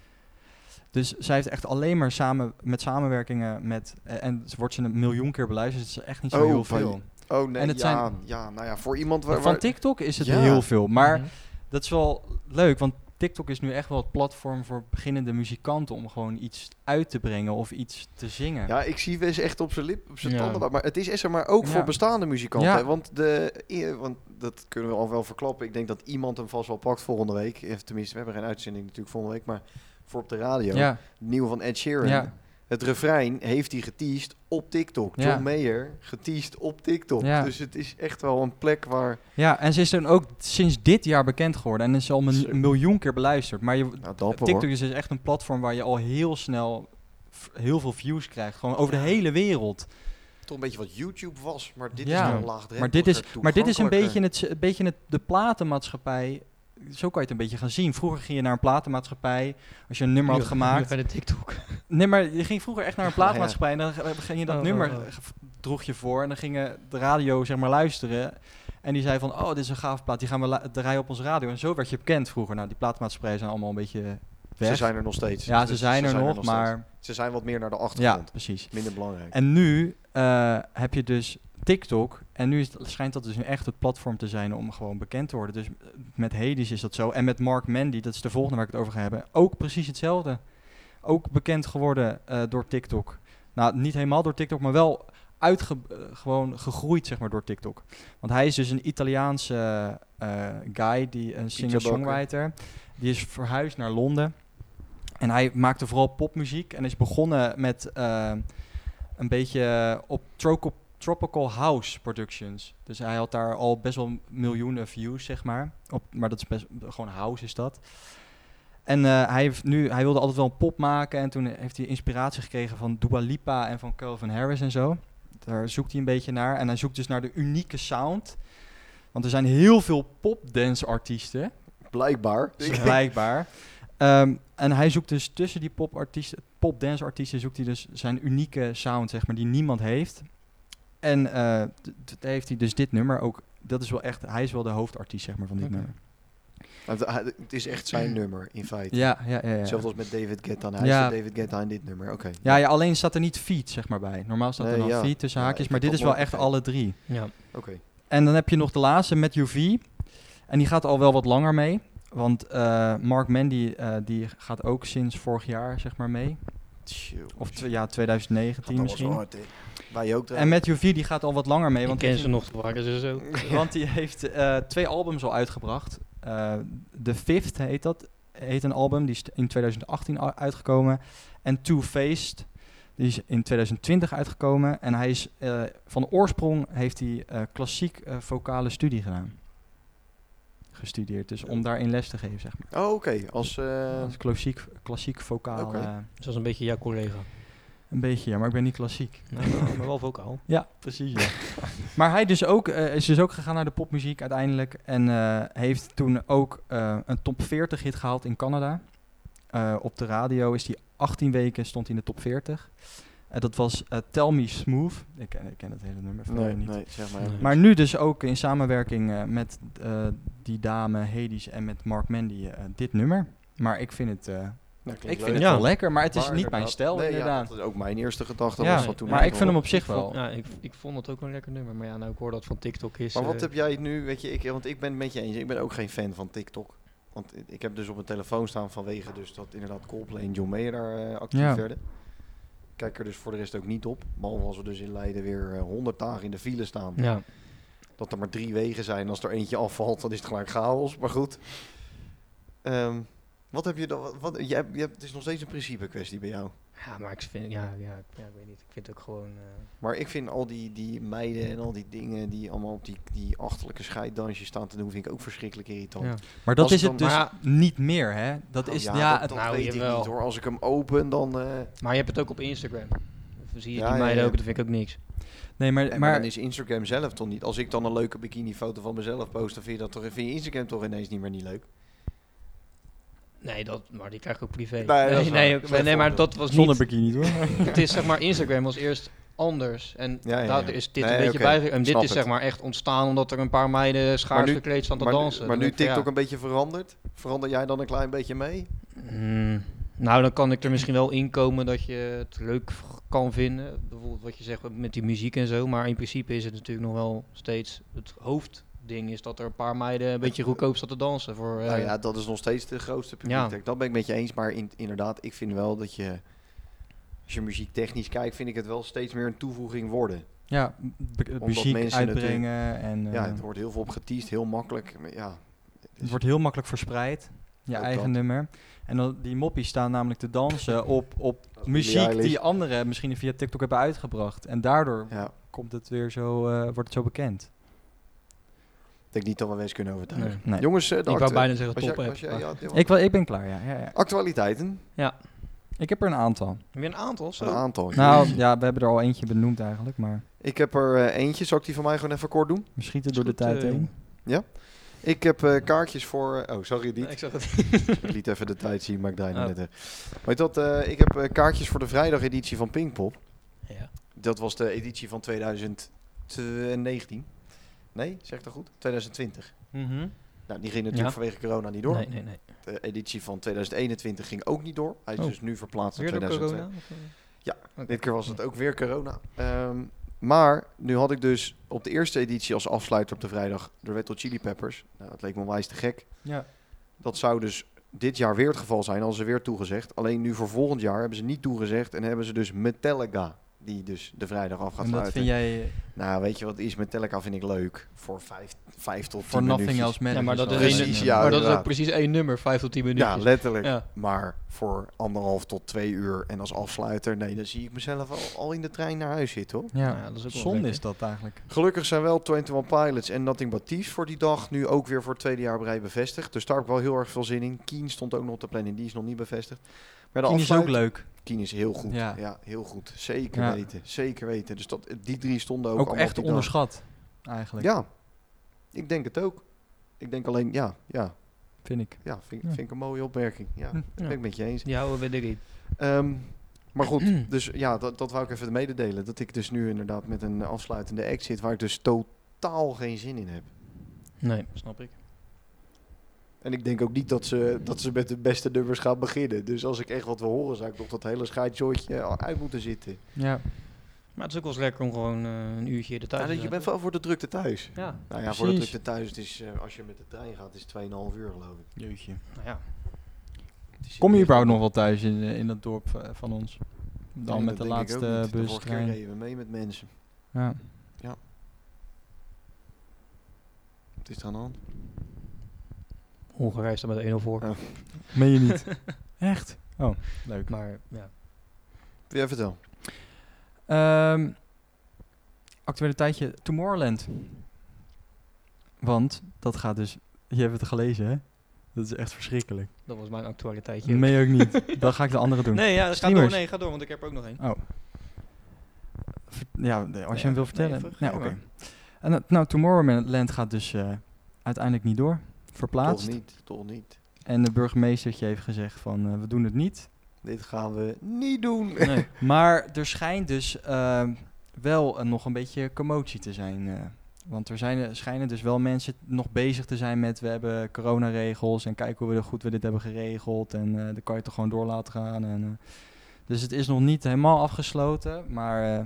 [SPEAKER 1] dus zij heeft echt alleen maar samen, met samenwerkingen met... eh, en ze wordt ze een miljoen keer beluisterd, dus het is echt niet zo
[SPEAKER 2] Oh,
[SPEAKER 1] heel
[SPEAKER 2] van-
[SPEAKER 1] veel.
[SPEAKER 2] Oh nee,
[SPEAKER 1] En het
[SPEAKER 2] ja,
[SPEAKER 1] zijn-
[SPEAKER 2] ja, nou ja, voor iemand waar...
[SPEAKER 1] Van
[SPEAKER 2] waar-
[SPEAKER 1] TikTok is het
[SPEAKER 2] Ja.
[SPEAKER 1] heel veel,
[SPEAKER 3] Mhm.
[SPEAKER 1] maar... Dat is wel leuk, want TikTok is nu echt wel het platform voor beginnende muzikanten om gewoon iets uit te brengen of iets te zingen.
[SPEAKER 2] Ja, ik zie Wes echt op zijn lip, op zijn
[SPEAKER 3] Ja.
[SPEAKER 2] tanden. Maar het is echt, zeg maar ook
[SPEAKER 1] Ja.
[SPEAKER 2] voor bestaande muzikanten.
[SPEAKER 1] Ja.
[SPEAKER 2] hè, Want, de, eh, want dat kunnen we al wel verklappen. Ik denk dat iemand hem vast wel pakt volgende week. Eh, Tenminste, we hebben geen uitzending natuurlijk volgende week. Maar voor op de radio.
[SPEAKER 1] ja,
[SPEAKER 2] Het nieuwe van Ed Sheeran.
[SPEAKER 1] ja,
[SPEAKER 2] Het refrein heeft hij geteased op TikTok.
[SPEAKER 1] Ja.
[SPEAKER 2] John Mayer geteased op TikTok.
[SPEAKER 1] Ja.
[SPEAKER 2] Dus het is echt wel een plek waar...
[SPEAKER 1] ja, en ze is dan ook sinds dit jaar bekend geworden en is al een
[SPEAKER 2] Zo.
[SPEAKER 1] miljoen keer beluisterd. Maar je,
[SPEAKER 2] Nou, dapper
[SPEAKER 1] TikTok
[SPEAKER 2] hoor.
[SPEAKER 1] is dus echt een platform waar je al heel snel f- heel veel views krijgt, gewoon over de hele wereld.
[SPEAKER 2] Toch een beetje wat YouTube was. Maar dit
[SPEAKER 1] Ja.
[SPEAKER 2] is nou laagdrempeliger,
[SPEAKER 1] Maar dit is, maar dit is een
[SPEAKER 2] toegankelijker.
[SPEAKER 1] beetje, het, een beetje het, de platenmaatschappij. Zo kan je het een beetje gaan zien. Vroeger ging je naar een platenmaatschappij als je een nummer had gemaakt.
[SPEAKER 3] Bij de TikTok.
[SPEAKER 1] Nee, maar je ging vroeger echt naar een
[SPEAKER 2] Ja, ja.
[SPEAKER 1] plaatmaatschappij en dan g- ging je dat
[SPEAKER 3] Oh,
[SPEAKER 1] nummer
[SPEAKER 3] oh, oh.
[SPEAKER 1] eh, g- droeg je voor en dan gingen de radio zeg maar luisteren en die zei van oh dit is een gaaf plaat die gaan we la- draaien op onze radio en zo werd je bekend vroeger. Nou die plaatmaatschappijen zijn allemaal een beetje weg.
[SPEAKER 2] Ze zijn er nog steeds.
[SPEAKER 1] ja,
[SPEAKER 2] Dus
[SPEAKER 1] ze zijn er nog,
[SPEAKER 2] steeds.
[SPEAKER 1] maar
[SPEAKER 2] Ze zijn wat meer naar de
[SPEAKER 1] ja
[SPEAKER 2] achtergrond.
[SPEAKER 1] precies.
[SPEAKER 2] Minder belangrijk.
[SPEAKER 1] En nu eh, heb je dus TikTok en nu is het- schijnt dat dus nu echt het platform te zijn om gewoon bekend te worden. Dus eh, met Hades is dat zo en met Mark Mandy, dat is de volgende waar ik het over ga hebben, ook precies hetzelfde. Ook bekend geworden eh, door TikTok. Nou, niet helemaal door TikTok, maar wel uitge eh, gewoon gegroeid zeg maar, door TikTok. Want hij is dus een Italiaanse eh, guy, die, een singer-songwriter. Die is verhuisd naar Londen. En hij maakte vooral popmuziek en is begonnen met eh, een beetje op troco- Tropical House Productions. Dus hij had daar al best wel miljoenen views, zeg maar. Op, maar dat is best gewoon house is dat. En eh, hij, heeft nu, hij wilde altijd wel een pop maken. En toen heeft hij inspiratie gekregen van Dua Lipa en van Calvin Harris en zo. Daar zoekt hij een beetje naar. En hij zoekt dus naar de unieke sound. Want er zijn heel veel popdance artiesten.
[SPEAKER 2] Blijkbaar.
[SPEAKER 1] Dus blijkbaar. Ehm, en hij zoekt dus tussen die popartiesten, popdanceartiesten, zoekt hij dus zijn unieke sound, zeg maar, die niemand heeft. En eh, d- d- heeft hij dus dit nummer ook. Dat is wel echt, hij is wel de hoofdartiest, zeg maar, van dit
[SPEAKER 3] Oké.
[SPEAKER 1] nummer.
[SPEAKER 2] Want hij- Het is echt zijn nummer, in feite.
[SPEAKER 1] Ja, ja, ja. ja.
[SPEAKER 2] Hetzelfde als met David Guetta. Hij
[SPEAKER 1] Ja.
[SPEAKER 2] is de David Guetta in dit nummer. Oké.
[SPEAKER 1] Ja, ja, alleen staat er niet feat, zeg maar, bij. Normaal staat er
[SPEAKER 2] Nee,
[SPEAKER 1] dan
[SPEAKER 2] ja.
[SPEAKER 1] feat tussen
[SPEAKER 2] Ja,
[SPEAKER 1] haakjes,
[SPEAKER 2] ik
[SPEAKER 1] maar
[SPEAKER 2] heb
[SPEAKER 1] dit is
[SPEAKER 2] dat
[SPEAKER 1] wel
[SPEAKER 2] nooit
[SPEAKER 1] echt alle drie.
[SPEAKER 3] Ja.
[SPEAKER 2] Oké.
[SPEAKER 1] En dan heb je nog de laatste met UV. En die gaat al wel wat langer mee. Want eh, Mark Mandy eh, die gaat ook sinds vorig jaar, zeg maar, mee.
[SPEAKER 2] Tjoe.
[SPEAKER 1] Of tw- ja, 2019
[SPEAKER 2] Dat was
[SPEAKER 1] misschien.
[SPEAKER 2] hard, hè. Wij ook.
[SPEAKER 1] En Matthew V die gaat al wat langer mee,
[SPEAKER 3] Ik
[SPEAKER 1] want,
[SPEAKER 3] ken
[SPEAKER 1] die,
[SPEAKER 3] ze nog, daar waren ze zo.
[SPEAKER 1] want die heeft eh, twee albums al uitgebracht. Eh The Fifth heet dat, heet een album, die is in 2018 u- uitgekomen. En Two Faced, die is in 2020 uitgekomen. En hij is eh, van oorsprong heeft hij eh, klassiek eh, vocale studie gedaan. Gestudeerd, dus om daarin les te geven, zeg maar.
[SPEAKER 2] Oh, oké. Als... eh,
[SPEAKER 1] Als klassiek, klassiek vocaal.
[SPEAKER 2] Oké.
[SPEAKER 1] eh,
[SPEAKER 3] Dus dat is een beetje jouw collega.
[SPEAKER 1] een beetje, ja, maar ik ben niet klassiek.
[SPEAKER 3] Nou, maar wel vocaal.
[SPEAKER 1] Ja, precies. Ja. maar hij dus ook, eh, is dus ook gegaan naar de popmuziek uiteindelijk. En eh, heeft toen ook eh, een top 40 hit gehaald in Canada. Eh, op de radio is hij 18 weken stond hij in de top 40. En dat was eh, Tell Me Smooth. Ik ken, ik ken het hele nummer verder
[SPEAKER 2] nee,
[SPEAKER 1] niet.
[SPEAKER 2] nee, zeg maar.
[SPEAKER 3] Nee.
[SPEAKER 1] Maar nu dus ook in samenwerking eh, met eh, die dame Hades en met Mark Mandy eh, dit nummer. Maar ik vind het, eh,
[SPEAKER 2] Nou,
[SPEAKER 1] ik
[SPEAKER 2] klinkt
[SPEAKER 1] vind
[SPEAKER 2] leuk.
[SPEAKER 1] het
[SPEAKER 3] Ja.
[SPEAKER 1] wel lekker, maar het is
[SPEAKER 2] Maar
[SPEAKER 1] niet mijn
[SPEAKER 2] inderdaad-
[SPEAKER 1] stijl
[SPEAKER 2] nee, ja,
[SPEAKER 1] inderdaad.
[SPEAKER 2] dat is ook mijn eerste gedachte.
[SPEAKER 1] Ja,
[SPEAKER 2] was dat toen
[SPEAKER 1] maar ik vind hem op zich
[SPEAKER 3] Ik
[SPEAKER 1] wel.
[SPEAKER 3] vond- Ja, ik, ik vond het ook wel een lekker nummer. Maar ja, nou ik hoor dat van TikTok is...
[SPEAKER 2] Maar wat
[SPEAKER 3] eh,
[SPEAKER 2] heb jij nu, weet je, ik, want ik ben het met je eens, ik ben ook geen fan van TikTok. Want i- ik heb dus op mijn telefoon staan vanwege dus dat inderdaad Coldplay en John Mayer daar eh, actief
[SPEAKER 1] Ja.
[SPEAKER 2] werden. Ik Kijk er dus voor de rest ook niet op. Behalve als we dus in Leiden weer honderd dagen in de file staan.
[SPEAKER 3] Ja,
[SPEAKER 2] Dat er maar drie wegen zijn. Als er eentje afvalt, dan is het gelijk chaos. Maar goed. Ehm, wat heb je dan? Wat, wat- je hebt, je hebt, het is nog steeds een principe kwestie bij jou.
[SPEAKER 3] ja maar ik vind... Ja, ja, ja, ik weet niet. Ik vind het ook gewoon... eh,
[SPEAKER 2] Maar ik vind al die, die meiden en al die dingen die allemaal op die, die achterlijke scheiddansjes staan te doen, vind ik ook verschrikkelijk irritant.
[SPEAKER 3] ja.
[SPEAKER 1] Maar dat
[SPEAKER 2] Als
[SPEAKER 1] is
[SPEAKER 2] dan-
[SPEAKER 1] het dus
[SPEAKER 3] maar
[SPEAKER 1] niet meer, hè? Dat
[SPEAKER 2] Nou
[SPEAKER 1] is, ja,
[SPEAKER 2] dat,
[SPEAKER 1] het-
[SPEAKER 2] dat
[SPEAKER 3] nou,
[SPEAKER 2] weet ik
[SPEAKER 3] jawel.
[SPEAKER 2] niet hoor. Als ik hem open, dan, eh,
[SPEAKER 3] Maar je hebt het ook op Instagram. Dan Zie je
[SPEAKER 2] Ja,
[SPEAKER 3] die
[SPEAKER 2] ja,
[SPEAKER 3] meiden
[SPEAKER 2] ja.
[SPEAKER 3] ook, dat vind ik ook niks.
[SPEAKER 1] nee, maar,
[SPEAKER 2] en maar
[SPEAKER 1] maar
[SPEAKER 2] dan is Instagram zelf toch niet. Als ik dan een leuke bikinifoto van mezelf post, dan vind je, dat toch, vind je Instagram toch ineens niet meer niet leuk.
[SPEAKER 3] Nee, dat, maar die krijg ik ook privé.
[SPEAKER 2] Nee,
[SPEAKER 3] Nee,
[SPEAKER 2] dat is
[SPEAKER 3] nee,
[SPEAKER 2] waar.
[SPEAKER 3] ook-
[SPEAKER 2] Slecht
[SPEAKER 3] nee, maar
[SPEAKER 2] voorbeeld.
[SPEAKER 3] dat was niet...
[SPEAKER 1] zonder bikini, hoor.
[SPEAKER 3] het is zeg maar, Instagram was eerst anders. En
[SPEAKER 2] Ja, ja,
[SPEAKER 3] daar
[SPEAKER 2] ja.
[SPEAKER 3] is dit
[SPEAKER 2] Nee,
[SPEAKER 3] een beetje
[SPEAKER 2] oké,
[SPEAKER 3] bijge- En dit
[SPEAKER 2] snap
[SPEAKER 3] is
[SPEAKER 2] het.
[SPEAKER 3] zeg maar echt ontstaan omdat er een paar meiden
[SPEAKER 2] Maar
[SPEAKER 3] schaars
[SPEAKER 2] nu-
[SPEAKER 3] gekleed staan te
[SPEAKER 2] maar, nu-
[SPEAKER 3] dansen.
[SPEAKER 2] maar
[SPEAKER 3] Dan
[SPEAKER 2] nu
[SPEAKER 3] denk ik, ja.
[SPEAKER 2] TikTok een beetje verandert, verander jij dan een klein beetje mee?
[SPEAKER 3] Mm, nou, dan kan ik er misschien wel inkomen dat je het leuk v- kan vinden. Bijvoorbeeld wat je zegt met die muziek en zo. Maar in principe is het natuurlijk nog wel steeds het hoofdding is dat er een paar meiden een beetje goedkoop staan te dansen. Voor, eh,
[SPEAKER 2] nou ja, dat is nog steeds de grootste
[SPEAKER 3] Ja.
[SPEAKER 2] publiek. Dat ben ik met je eens. Maar in, inderdaad, ik vind wel dat je, als je muziek technisch kijkt, vind ik het wel steeds meer een toevoeging worden.
[SPEAKER 1] Ja, b- b- muziek
[SPEAKER 2] mensen
[SPEAKER 1] uitbrengen en eh,
[SPEAKER 2] ja, het
[SPEAKER 1] het, wordt,
[SPEAKER 2] wordt heel veel op geteased, heel makkelijk. Maar ja, het is-
[SPEAKER 1] heel makkelijk verspreid, je
[SPEAKER 2] Ook
[SPEAKER 1] eigen
[SPEAKER 2] dat.
[SPEAKER 1] nummer. En dan, die moppies staan namelijk te dansen op, op
[SPEAKER 2] is
[SPEAKER 1] muziek
[SPEAKER 2] Billie
[SPEAKER 1] die anderen misschien via TikTok hebben uitgebracht. En daardoor
[SPEAKER 2] ja,
[SPEAKER 1] komt het weer zo, eh, wordt het zo bekend.
[SPEAKER 2] ik denk niet dat we wees kunnen overtuigen.
[SPEAKER 3] nee.
[SPEAKER 1] Nee.
[SPEAKER 2] Jongens, eh, de
[SPEAKER 3] Ik wou
[SPEAKER 2] actua-
[SPEAKER 3] bijna zeggen
[SPEAKER 2] was jij-
[SPEAKER 3] top app.
[SPEAKER 2] was jij-
[SPEAKER 3] maar-
[SPEAKER 2] ja, Dylan?
[SPEAKER 1] Ik, wel, ik ben klaar, ja, ja, ja.
[SPEAKER 2] Actualiteiten,
[SPEAKER 1] Ik heb er een aantal.
[SPEAKER 3] Heb je een aantal of zo?
[SPEAKER 2] een aantal.
[SPEAKER 1] Nou, ja, we hebben er al eentje benoemd eigenlijk, maar
[SPEAKER 2] Ik heb er eh, eentje, zal ik die van mij gewoon even kort doen?
[SPEAKER 1] we schieten
[SPEAKER 3] Is
[SPEAKER 1] door de
[SPEAKER 3] goed,
[SPEAKER 1] tijd
[SPEAKER 3] eh,
[SPEAKER 1] heen.
[SPEAKER 2] Ik heb eh, kaartjes voor... eh, oh, sorry, niet.
[SPEAKER 3] Ik zag het.
[SPEAKER 2] Ik liet even de tijd zien, maar ik draaide
[SPEAKER 3] Oh.
[SPEAKER 2] net. weg. Maar dat, eh, ik heb eh, kaartjes voor de vrijdageditie van Pinkpop.
[SPEAKER 3] Ja.
[SPEAKER 2] Dat was de editie van 2019. Nee, zeg ik dat goed? 2020.
[SPEAKER 3] Mhm.
[SPEAKER 2] Nou, die ging natuurlijk
[SPEAKER 3] Ja.
[SPEAKER 2] vanwege corona niet door.
[SPEAKER 3] Nee, nee, nee.
[SPEAKER 2] De editie van 2021 ging ook niet door. Hij is
[SPEAKER 3] Oh.
[SPEAKER 2] dus nu verplaatst naar
[SPEAKER 3] Weer door
[SPEAKER 2] 2020.
[SPEAKER 3] corona? of, eh?
[SPEAKER 2] Ja,
[SPEAKER 3] Oké.
[SPEAKER 2] Dit keer was het ook weer corona. Ehm, maar nu had ik dus op de eerste editie als afsluiter op de vrijdag de Red Hot Chili Peppers. Nou, dat leek me onwijs te gek.
[SPEAKER 1] Ja.
[SPEAKER 2] Dat zou dus dit jaar weer het geval zijn, als ze weer toegezegd. Alleen nu voor volgend jaar hebben ze niet toegezegd en hebben ze dus Metallica die dus de vrijdag af gaat
[SPEAKER 1] en dat
[SPEAKER 2] sluiten.
[SPEAKER 1] vind jij eh,
[SPEAKER 2] Nou, weet je wat, is Metallica vind ik leuk. Voor vijf, vijf tot
[SPEAKER 1] voor
[SPEAKER 2] tien
[SPEAKER 1] Nothing
[SPEAKER 2] minuutjes.
[SPEAKER 1] Else Matters.
[SPEAKER 3] Ja, maar dat
[SPEAKER 1] wel
[SPEAKER 3] is één-
[SPEAKER 1] een-
[SPEAKER 2] Precies, ja,
[SPEAKER 3] maar dat is ook
[SPEAKER 2] inderdaad.
[SPEAKER 3] precies één nummer, vijf tot tien minuten.
[SPEAKER 2] Ja, letterlijk.
[SPEAKER 3] Ja.
[SPEAKER 2] Maar voor anderhalf tot twee uur en als afsluiter, nee, dan zie ik mezelf al, al in de trein naar huis zitten hoor.
[SPEAKER 1] Ja,
[SPEAKER 3] Nou Ja, dat is ook wel
[SPEAKER 1] zonde
[SPEAKER 3] lekker.
[SPEAKER 1] is dat eigenlijk.
[SPEAKER 2] Gelukkig zijn wel 21 Pilots en Nothing But Thieves voor die dag nu ook weer voor het tweede jaar op rij bevestigd. Dus daar heb ik wel heel erg veel zin in. Keen stond ook nog op de planning, die is nog niet bevestigd. Maar de
[SPEAKER 1] Kien is ook
[SPEAKER 2] afsluit-
[SPEAKER 1] leuk.
[SPEAKER 2] Keen is heel goed. Ja,
[SPEAKER 1] Ja.
[SPEAKER 2] heel goed. Zeker
[SPEAKER 1] Ja.
[SPEAKER 2] weten, zeker weten. Dus dat, die drie stonden ook,
[SPEAKER 1] Ook
[SPEAKER 2] allemaal
[SPEAKER 1] echt
[SPEAKER 2] op die dag.
[SPEAKER 1] onderschat, eigenlijk,
[SPEAKER 2] Ja, ik denk het ook. Ik denk alleen, ja, ja,
[SPEAKER 1] vind ik.
[SPEAKER 2] ja, vind,
[SPEAKER 1] Ja.
[SPEAKER 2] vind ik een mooie opmerking. Ja,
[SPEAKER 1] Hm.
[SPEAKER 2] dat ben
[SPEAKER 3] Ja.
[SPEAKER 2] ik met je eens.
[SPEAKER 3] Die houden we erin.
[SPEAKER 2] Ehm, maar goed, dus ja, dat, dat wou ik even mededelen. Dat ik dus nu inderdaad met een afsluitende act zit waar ik dus totaal geen zin in heb.
[SPEAKER 3] Nee, snap ik.
[SPEAKER 2] En ik denk ook niet dat ze, dat ze met de beste nummers gaan beginnen. Dus als ik echt wat wil horen, zou ik nog dat hele schaatjooitje al uit moeten zitten.
[SPEAKER 1] Ja.
[SPEAKER 3] Maar het is ook wel eens lekker om gewoon eh, een uurtje de thuis
[SPEAKER 2] Ja,
[SPEAKER 3] te
[SPEAKER 2] je
[SPEAKER 3] zijn.
[SPEAKER 2] bent wel voor de drukte thuis.
[SPEAKER 3] Ja,
[SPEAKER 2] Nou ja, voor de
[SPEAKER 1] Precies.
[SPEAKER 2] drukte thuis, het is, eh, als je met de trein gaat, is het 2,5 uur geloof ik.
[SPEAKER 1] Jeetje.
[SPEAKER 3] nou ja.
[SPEAKER 2] Het is
[SPEAKER 1] Kom je
[SPEAKER 2] echt-
[SPEAKER 1] überhaupt nog wel thuis in, eh, in dat dorp eh, van ons? Dan
[SPEAKER 2] Nee,
[SPEAKER 1] met de
[SPEAKER 2] dat denk ik ook
[SPEAKER 1] laatste
[SPEAKER 2] niet. De
[SPEAKER 1] bus,
[SPEAKER 2] vorige keer
[SPEAKER 1] trein.
[SPEAKER 2] reden we mee met mensen.
[SPEAKER 1] Ja.
[SPEAKER 2] Wat is er aan de hand?
[SPEAKER 3] Hongarije staat met 1-0 voor.
[SPEAKER 2] Ja.
[SPEAKER 1] Meen je niet? Echt? Oh, leuk.
[SPEAKER 3] Maar ja.
[SPEAKER 2] Ja, vertel.
[SPEAKER 1] Ehm actuele tijdje, Tomorrowland. Want dat gaat dus... Je hebt het gelezen, hè? Dat is echt verschrikkelijk.
[SPEAKER 3] Dat was mijn actualiteitje.
[SPEAKER 1] Meen ook niet. Dan ga ik de andere doen.
[SPEAKER 3] nee, ja, dat gaat door.
[SPEAKER 1] Streamers.
[SPEAKER 3] Nee, ga door, want ik heb er ook nog één.
[SPEAKER 1] Oh. Ver- Ja, de- als
[SPEAKER 3] Nee,
[SPEAKER 1] je hem wil
[SPEAKER 3] nee,
[SPEAKER 1] vertellen.
[SPEAKER 3] ver-
[SPEAKER 1] nou,
[SPEAKER 3] nee,
[SPEAKER 1] oké.
[SPEAKER 3] maar.
[SPEAKER 1] En dat- Nou, Tomorrowland gaat dus eh, uiteindelijk niet door.
[SPEAKER 2] Toch
[SPEAKER 1] Verplaatst.
[SPEAKER 2] niet, toch niet.
[SPEAKER 1] En de burgemeestertje heeft gezegd van, eh, we doen het niet.
[SPEAKER 2] Dit gaan we niet doen.
[SPEAKER 3] Nee.
[SPEAKER 1] Maar er schijnt dus eh, wel eh, nog een beetje commotie te zijn. eh. want er zijn, er schijnen dus wel mensen nog bezig te zijn met... we hebben coronaregels en kijk hoe we, goed we dit hebben geregeld. En eh dan kan je toch gewoon door laten gaan. En, eh. dus het is nog niet helemaal afgesloten, maar... eh,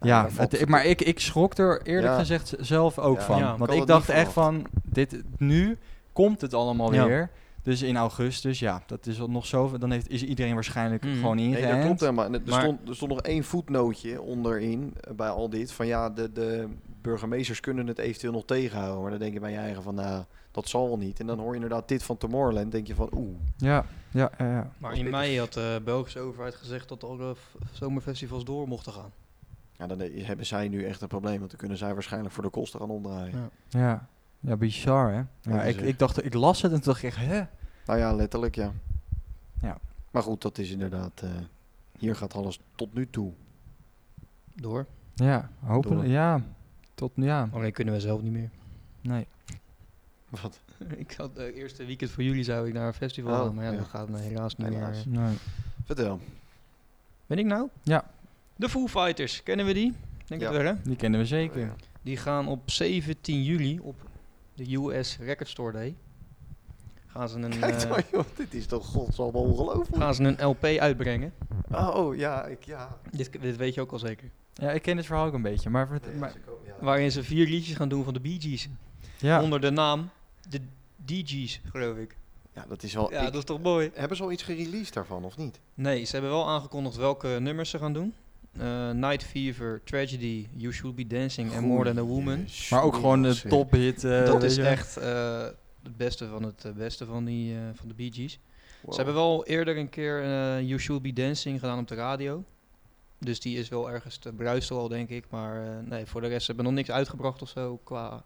[SPEAKER 1] ja,
[SPEAKER 2] daar valt
[SPEAKER 1] het-
[SPEAKER 2] te-
[SPEAKER 1] maar ik, ik schrok er eerlijk
[SPEAKER 2] Ja.
[SPEAKER 1] gezegd z- zelf ook
[SPEAKER 2] Ja.
[SPEAKER 1] van. want
[SPEAKER 3] Ja,
[SPEAKER 2] kan
[SPEAKER 1] ik
[SPEAKER 2] het niet
[SPEAKER 1] dacht echt van, dit, nu komt het allemaal
[SPEAKER 3] Ja.
[SPEAKER 1] weer. Dus in augustus, ja, dat is al nog zo. Dan heeft, is iedereen waarschijnlijk
[SPEAKER 3] Mhm.
[SPEAKER 1] gewoon
[SPEAKER 2] Nee,
[SPEAKER 1] ingeënt.
[SPEAKER 2] dat klopt helemaal. En Er,
[SPEAKER 3] Maar-
[SPEAKER 2] stond, er stond nog één voetnootje onderin eh, bij al dit. Van ja, de, de burgemeesters kunnen het eventueel nog tegenhouden. Maar dan denk je bij je eigen van, nou, dat zal wel niet. En dan hoor je inderdaad dit van Tomorrowland. denk je van, oeh.
[SPEAKER 1] Ja, ja, ja, ja.
[SPEAKER 3] Maar
[SPEAKER 2] Was
[SPEAKER 3] in
[SPEAKER 2] pittig.
[SPEAKER 3] mei had de Belgische overheid gezegd dat alle f- zomerfestivals door mochten gaan.
[SPEAKER 2] Ja, dan eh, hebben zij nu echt een probleem. Want dan kunnen zij waarschijnlijk voor de kosten gaan omdraaien.
[SPEAKER 3] Ja.
[SPEAKER 1] ja. Ja, bizar hè. Ja,
[SPEAKER 2] dat is
[SPEAKER 1] ik,
[SPEAKER 2] echt-
[SPEAKER 1] ik dacht, ik las het en toen dacht ik echt, hè?
[SPEAKER 2] Nou ja, letterlijk ja.
[SPEAKER 1] Ja.
[SPEAKER 2] Maar goed, dat is inderdaad... eh, hier gaat alles tot nu toe.
[SPEAKER 3] Door.
[SPEAKER 1] Ja, hopelijk.
[SPEAKER 2] Door.
[SPEAKER 1] Ja, tot nu, ja.
[SPEAKER 3] Alleen kunnen we zelf niet meer.
[SPEAKER 1] Nee.
[SPEAKER 2] Wat?
[SPEAKER 3] ik had het eerste weekend voor jullie zou ik naar een festival
[SPEAKER 2] Oh,
[SPEAKER 3] gaan, maar ja,
[SPEAKER 2] ja.
[SPEAKER 3] dat gaat me helaas niet
[SPEAKER 2] Helaas.
[SPEAKER 3] meer.
[SPEAKER 1] nee.
[SPEAKER 2] Vertel.
[SPEAKER 3] Ben ik nou?
[SPEAKER 1] Ja.
[SPEAKER 3] De Foo Fighters, kennen we die? Denk
[SPEAKER 2] Ja.
[SPEAKER 3] het wel hè?
[SPEAKER 1] Die kennen we
[SPEAKER 2] Oh,
[SPEAKER 1] zeker.
[SPEAKER 3] Die gaan op 17 juli op de US Record Store Day. Gaan ze een,
[SPEAKER 2] Kijk
[SPEAKER 3] eh,
[SPEAKER 2] dan, joh, dit is toch godsam ongelooflijk.
[SPEAKER 3] gaan ze een LP uitbrengen.
[SPEAKER 1] Ah.
[SPEAKER 2] Oh, oh, ja, ik, ja.
[SPEAKER 3] Dit, dit weet je ook al zeker.
[SPEAKER 1] Ja, ik ken het verhaal ook een beetje. Maar, vert-
[SPEAKER 2] Nee,
[SPEAKER 1] maar
[SPEAKER 2] ze komen- ja.
[SPEAKER 3] Waarin ze vier liedjes gaan doen van de Bee Gees.
[SPEAKER 1] ja,
[SPEAKER 3] Onder de naam de DG's, geloof ik.
[SPEAKER 2] Ja, dat is wel...
[SPEAKER 3] Ja,
[SPEAKER 2] Oh, ik-
[SPEAKER 3] dat is toch mooi?
[SPEAKER 2] Hebben ze al iets gereleased daarvan, of niet?
[SPEAKER 3] Nee, ze hebben wel aangekondigd welke nummers ze gaan doen. Eh, Night Fever, Tragedy, You Should Be Dancing en More Than a Woman.
[SPEAKER 1] maar ook gewoon de
[SPEAKER 2] Jezus.
[SPEAKER 1] tophit. eh,
[SPEAKER 3] dat
[SPEAKER 1] weet
[SPEAKER 3] is
[SPEAKER 1] je.
[SPEAKER 3] echt eh, het beste van het eh, beste van, die, eh, van de Bee Gees.
[SPEAKER 2] Wow.
[SPEAKER 3] Ze hebben wel eerder een keer eh, You Should Be Dancing gedaan op de radio. Dus die is wel ergens te bruisen al, denk ik. Maar eh, nee, voor de rest ze hebben nog niks uitgebracht of zo qua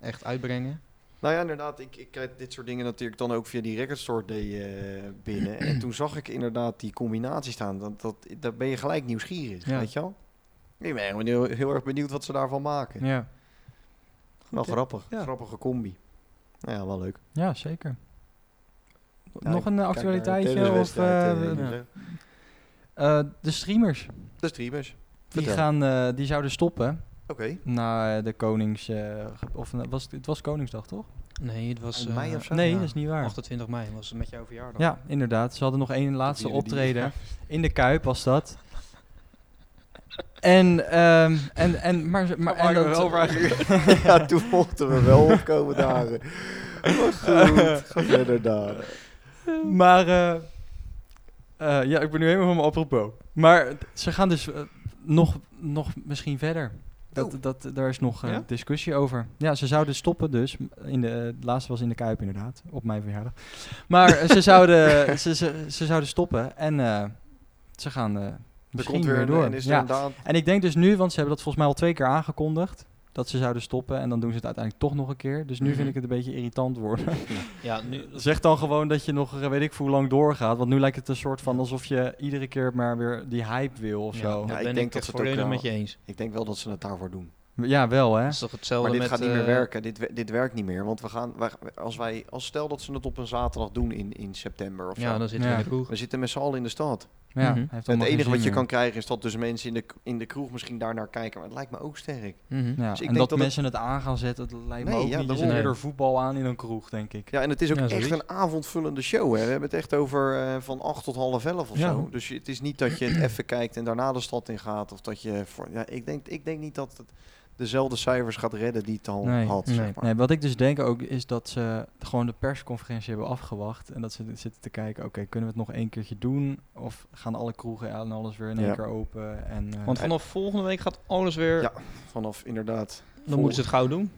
[SPEAKER 3] echt uitbrengen.
[SPEAKER 2] Nou ja, inderdaad, ik, ik krijg dit soort dingen natuurlijk dan ook via die Record Store Day eh, binnen. en toen zag ik inderdaad die combinatie staan. Dat, dat, daar ben je gelijk nieuwsgierig,
[SPEAKER 1] Ja.
[SPEAKER 2] weet je wel? Ik ben heel, heel, heel erg benieuwd wat ze daarvan maken.
[SPEAKER 1] Ja.
[SPEAKER 2] wel
[SPEAKER 3] hè?
[SPEAKER 2] grappig,
[SPEAKER 3] Ja.
[SPEAKER 2] grappige combi. Nou ja, wel leuk.
[SPEAKER 1] ja, zeker.
[SPEAKER 2] Ja,
[SPEAKER 1] Nog
[SPEAKER 2] ik
[SPEAKER 1] een eh,
[SPEAKER 2] kijk naar de
[SPEAKER 1] actualiteitje? Of,
[SPEAKER 2] tenniswedstrijd,
[SPEAKER 1] eh,
[SPEAKER 2] eh,
[SPEAKER 3] ja.
[SPEAKER 2] ja.
[SPEAKER 1] eh, de streamers,
[SPEAKER 2] De streamers.
[SPEAKER 1] die,
[SPEAKER 2] Vertel.
[SPEAKER 1] gaan, eh, die zouden stoppen
[SPEAKER 2] Oké.
[SPEAKER 1] na eh, de Konings... eh, ge- of na- was, het- het was Koningsdag, toch?
[SPEAKER 3] Nee, het was
[SPEAKER 2] Eind mei
[SPEAKER 3] eh,
[SPEAKER 2] of zo?
[SPEAKER 1] Nee,
[SPEAKER 3] ja,
[SPEAKER 1] dat is niet waar.
[SPEAKER 3] 28 mei was het met jouw verjaardag.
[SPEAKER 1] Ja, inderdaad. Ze hadden nog één laatste
[SPEAKER 2] jullie die-
[SPEAKER 1] optreden. In de Kuip was dat. En, ehm, en, en, maar, maar, en dat,
[SPEAKER 2] ja, toen mochten we wel opkomen dagen. Maar goed, ga verder daar.
[SPEAKER 1] maar, eh, Eh, ja, ik ben nu helemaal van mijn apropos. Maar ze gaan dus eh, nog, nog misschien verder. Dat,
[SPEAKER 2] Oh.
[SPEAKER 1] dat, daar is nog eh,
[SPEAKER 3] Ja?
[SPEAKER 1] discussie over. Ja, ze zouden stoppen dus. In de, het laatste was in de Kuip inderdaad, op mijn verjaardag. Maar eh, ze, zouden, ze, ze, ze zouden stoppen en eh, ze gaan eh
[SPEAKER 2] Er
[SPEAKER 1] misschien
[SPEAKER 2] komt weer
[SPEAKER 1] weer
[SPEAKER 2] een,
[SPEAKER 1] door.
[SPEAKER 2] en is er
[SPEAKER 1] ja.
[SPEAKER 2] inderdaad...
[SPEAKER 1] En ik denk dus nu, want ze hebben dat volgens mij al twee keer aangekondigd... dat ze zouden stoppen en dan doen ze het uiteindelijk toch nog een keer. Dus nu
[SPEAKER 3] Mhm.
[SPEAKER 1] vind ik het een beetje irritant worden.
[SPEAKER 3] Ja, nu,
[SPEAKER 1] Zeg dan gewoon dat je nog eh, weet ik hoe lang doorgaat. Want nu lijkt het een soort van alsof je iedere keer maar weer die hype wil of
[SPEAKER 3] ja,
[SPEAKER 1] zo.
[SPEAKER 3] dat
[SPEAKER 1] Ja,
[SPEAKER 2] Ja, ik
[SPEAKER 3] ben
[SPEAKER 2] denk
[SPEAKER 3] ik
[SPEAKER 2] dat
[SPEAKER 3] het
[SPEAKER 2] ze het ook
[SPEAKER 3] volledig
[SPEAKER 2] wel-
[SPEAKER 3] met je eens.
[SPEAKER 2] Ik denk wel dat ze het daarvoor doen.
[SPEAKER 1] wel hè.
[SPEAKER 3] Dat is toch hetzelfde
[SPEAKER 2] Maar dit
[SPEAKER 3] met...
[SPEAKER 2] gaat niet meer
[SPEAKER 3] eh,
[SPEAKER 2] werken. Dit, we- dit werkt niet meer. Want we gaan, wij- als wij, als stel dat ze het op een zaterdag doen in, in september of
[SPEAKER 3] Ja,
[SPEAKER 2] zo.
[SPEAKER 3] dan zitten we
[SPEAKER 1] Ja.
[SPEAKER 3] in de kroeg.
[SPEAKER 2] We zitten met z'n allen in de stad.
[SPEAKER 1] Ja, hij
[SPEAKER 3] Mhm.
[SPEAKER 1] heeft
[SPEAKER 2] Het
[SPEAKER 1] allemaal geen
[SPEAKER 2] enige
[SPEAKER 1] zin
[SPEAKER 2] wat je
[SPEAKER 1] meer.
[SPEAKER 2] kan krijgen is dat dus mensen in de, k- in de kroeg misschien daar naar kijken. Maar het lijkt me ook sterk.
[SPEAKER 3] Mhm.
[SPEAKER 1] Ja,
[SPEAKER 2] Dus
[SPEAKER 1] en
[SPEAKER 2] ik denk
[SPEAKER 1] dat,
[SPEAKER 2] dat het-
[SPEAKER 1] mensen het... aan gaan zetten, dat lijkt me
[SPEAKER 2] Nee,
[SPEAKER 1] ook
[SPEAKER 2] ja,
[SPEAKER 1] niet. Je
[SPEAKER 2] daarom.
[SPEAKER 1] zet
[SPEAKER 3] Nee.
[SPEAKER 1] eerder voetbal aan in een kroeg, denk ik.
[SPEAKER 2] Ja, en het is ook
[SPEAKER 3] Ja,
[SPEAKER 2] echt
[SPEAKER 3] zoiets.
[SPEAKER 2] een avondvullende show. Hè. We hebben het echt over eh, van 8 tot half 11 of
[SPEAKER 1] Ja.
[SPEAKER 2] zo. Dus je- het is niet dat je het even kijkt en daarna de stad in gaat. Of dat je. Voor, ja, ik, denk, ik denk niet dat het dezelfde cijfers gaat redden die het al
[SPEAKER 1] Nee,
[SPEAKER 2] had.
[SPEAKER 3] nee.
[SPEAKER 2] zeg maar.
[SPEAKER 1] Nee, wat ik dus denk ook is dat ze gewoon de persconferentie hebben afgewacht. En dat ze zitten te kijken, oké, kunnen we het nog één keertje doen? Of gaan alle kroegen en alles weer in één
[SPEAKER 2] Ja.
[SPEAKER 1] keer open? En, eh,
[SPEAKER 3] Want vanaf volgende week gaat alles weer...
[SPEAKER 2] Ja, Vanaf inderdaad.
[SPEAKER 3] dan moeten ze het gauw doen.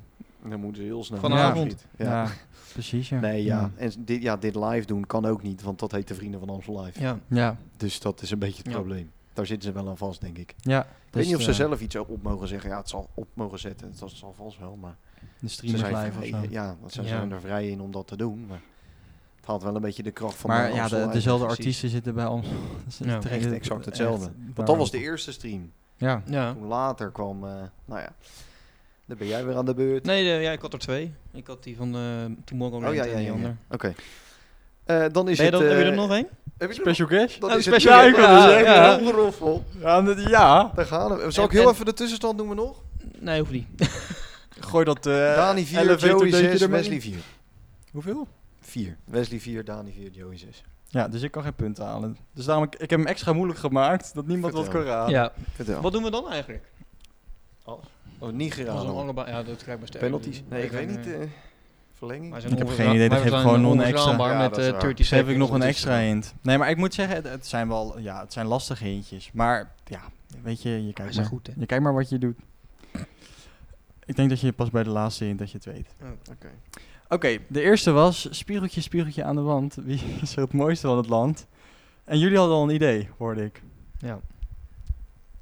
[SPEAKER 2] Dan moeten ze heel snel.
[SPEAKER 3] Vanavond.
[SPEAKER 1] ja.
[SPEAKER 2] Ja.
[SPEAKER 1] precies ja.
[SPEAKER 2] Nee,
[SPEAKER 1] Ja.
[SPEAKER 2] ja. En dit, ja, dit live doen kan ook niet, want dat heet de Vrienden van Amstel Live.
[SPEAKER 3] Ja.
[SPEAKER 1] Ja,
[SPEAKER 2] Dus dat is een beetje het
[SPEAKER 3] Ja. eh,
[SPEAKER 2] probleem. Daar zitten ze wel aan vast, denk ik.
[SPEAKER 1] ja.
[SPEAKER 2] Ik
[SPEAKER 1] dus
[SPEAKER 2] weet niet of ze
[SPEAKER 1] de-
[SPEAKER 2] zelf iets op mogen zeggen. Ja, het zal op mogen zetten. Dat zal vast wel, maar...
[SPEAKER 1] De
[SPEAKER 2] Ze
[SPEAKER 1] streamers
[SPEAKER 2] zijn,
[SPEAKER 1] live of
[SPEAKER 2] vrij-
[SPEAKER 1] zo.
[SPEAKER 2] ja, want ze
[SPEAKER 3] Ja.
[SPEAKER 2] zijn er vrij in om dat te doen. Maar het haalt wel een beetje de kracht van
[SPEAKER 1] maar
[SPEAKER 2] de
[SPEAKER 1] ja,
[SPEAKER 2] Amstel
[SPEAKER 1] de,
[SPEAKER 2] Live.
[SPEAKER 1] dezelfde
[SPEAKER 3] precies.
[SPEAKER 1] artiesten zitten bij ons.
[SPEAKER 3] Ja,
[SPEAKER 2] echt exact hetzelfde. Want dat was de eerste stream.
[SPEAKER 1] Ja,
[SPEAKER 3] ja.
[SPEAKER 2] Toen later kwam... eh, nou ja, dan ben jij weer aan de beurt.
[SPEAKER 3] Nee, de- ja, ik had er twee. Ik had die van eh Tomorrowland
[SPEAKER 2] Oh, ja, ja,
[SPEAKER 3] en die
[SPEAKER 2] ja, ja.
[SPEAKER 3] ander.
[SPEAKER 2] Oké. Eh, dan is
[SPEAKER 3] Ben je
[SPEAKER 2] het...
[SPEAKER 3] dan, heb je
[SPEAKER 2] eh,
[SPEAKER 3] er nog één?
[SPEAKER 2] heb je er
[SPEAKER 1] special guest.
[SPEAKER 2] Dan
[SPEAKER 3] Oh,
[SPEAKER 2] is
[SPEAKER 3] special
[SPEAKER 2] het...
[SPEAKER 1] guest. Ja, ik wou
[SPEAKER 2] ja.
[SPEAKER 1] zeggen,
[SPEAKER 2] Ongeroffel.
[SPEAKER 1] Ja, dat- ja.
[SPEAKER 2] Daar gaan we. Zal ik
[SPEAKER 3] En-
[SPEAKER 2] heel
[SPEAKER 3] en-
[SPEAKER 2] even de tussenstand noemen nog?
[SPEAKER 3] Nee, hoeft niet.
[SPEAKER 1] Gooi dat eh
[SPEAKER 2] Dani 4,
[SPEAKER 1] elevator
[SPEAKER 2] Joey
[SPEAKER 1] deuntje
[SPEAKER 2] 6,
[SPEAKER 1] er maar
[SPEAKER 2] Wesley
[SPEAKER 1] in.
[SPEAKER 2] 4.
[SPEAKER 1] Hoeveel?
[SPEAKER 2] 4. Wesley 4, Dani 4, Joey 6.
[SPEAKER 1] Ja, dus ik kan geen punten halen. Dus daarom, ik, ik heb hem extra moeilijk gemaakt, dat niemand wat
[SPEAKER 2] Vertel.
[SPEAKER 1] kan raden.
[SPEAKER 3] Ja.
[SPEAKER 2] Vertel.
[SPEAKER 3] Wat doen we dan eigenlijk?
[SPEAKER 2] Oh, niet
[SPEAKER 3] Als we
[SPEAKER 2] geraden. hoor.
[SPEAKER 3] allebei, ja, dat krijg ik best
[SPEAKER 2] Penalties. Nee, ik weet niet.
[SPEAKER 3] Ik
[SPEAKER 2] eh, verlenging.
[SPEAKER 1] Ik heb geen idee, dat geef ik gewoon een extra.
[SPEAKER 2] Ja,
[SPEAKER 3] met
[SPEAKER 2] dat is
[SPEAKER 3] eh,
[SPEAKER 2] waar.
[SPEAKER 3] 30
[SPEAKER 1] Dus heb ik nog een
[SPEAKER 3] seconds.
[SPEAKER 1] extra hint. Nee, maar ik moet zeggen, het, het zijn wel ja, het zijn lastige hintjes. Maar ja, weet je, je
[SPEAKER 3] Hij
[SPEAKER 1] kijkt,
[SPEAKER 3] zijn
[SPEAKER 1] maar,
[SPEAKER 3] goed, hè?
[SPEAKER 1] je kijkt maar wat je doet. Ik denk dat je pas bij de laatste hint dat je het weet.
[SPEAKER 2] Oké.
[SPEAKER 1] Oké, de eerste was spiegeltje, spiegeltje aan de wand. Wie is er het mooiste van het land? En jullie hadden al een idee, hoorde ik.
[SPEAKER 3] Ja.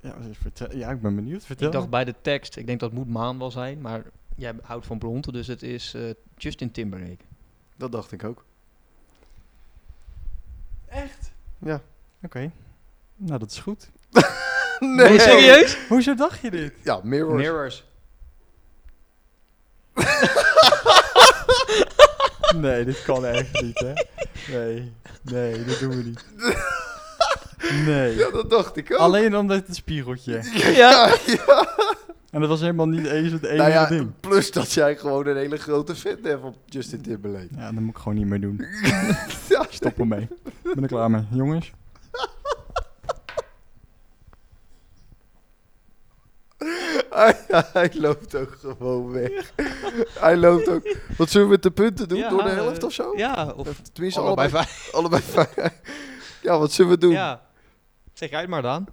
[SPEAKER 1] Ja, wat is- vertel- ja ik ben benieuwd. Vertel.
[SPEAKER 3] Ik dacht bij de tekst, ik denk dat moet Maan wel zijn, maar jij houdt van blond, dus het is eh, Justin Timberlake.
[SPEAKER 2] Dat dacht ik ook.
[SPEAKER 1] Oké. Nou, dat is goed.
[SPEAKER 2] Nee,
[SPEAKER 3] serieus?
[SPEAKER 1] Hoezo dacht je dit?
[SPEAKER 2] Ja, Mirror.
[SPEAKER 3] Mirrors.
[SPEAKER 1] Nee, dit kan echt niet, hè? Nee, nee, dat doen we niet. Nee.
[SPEAKER 2] Ja, dat dacht ik ook.
[SPEAKER 1] Alleen omdat het een spiegeltje.
[SPEAKER 2] Ja, ja.
[SPEAKER 1] En dat was helemaal niet eens het enige
[SPEAKER 2] Nou ja,
[SPEAKER 1] ding.
[SPEAKER 2] plus dat jij gewoon een hele grote fan hebt op Justin Timberlake.
[SPEAKER 1] Ja, dat moet ik gewoon niet meer doen.
[SPEAKER 2] Ja,
[SPEAKER 1] Stop ermee. Ben ik klaar mee. Jongens.
[SPEAKER 2] hij, hij loopt ook gewoon weg. hij loopt ook. Wat zullen we met de punten doen?
[SPEAKER 3] Ja,
[SPEAKER 2] Door de
[SPEAKER 3] eh,
[SPEAKER 2] helft of zo?
[SPEAKER 3] Ja, of
[SPEAKER 2] Tenminste,
[SPEAKER 3] allebei
[SPEAKER 2] allebei,
[SPEAKER 3] vijf.
[SPEAKER 2] allebei vijf. Ja, wat zullen we doen?
[SPEAKER 3] Ja. Zeg jij het maar, Daan.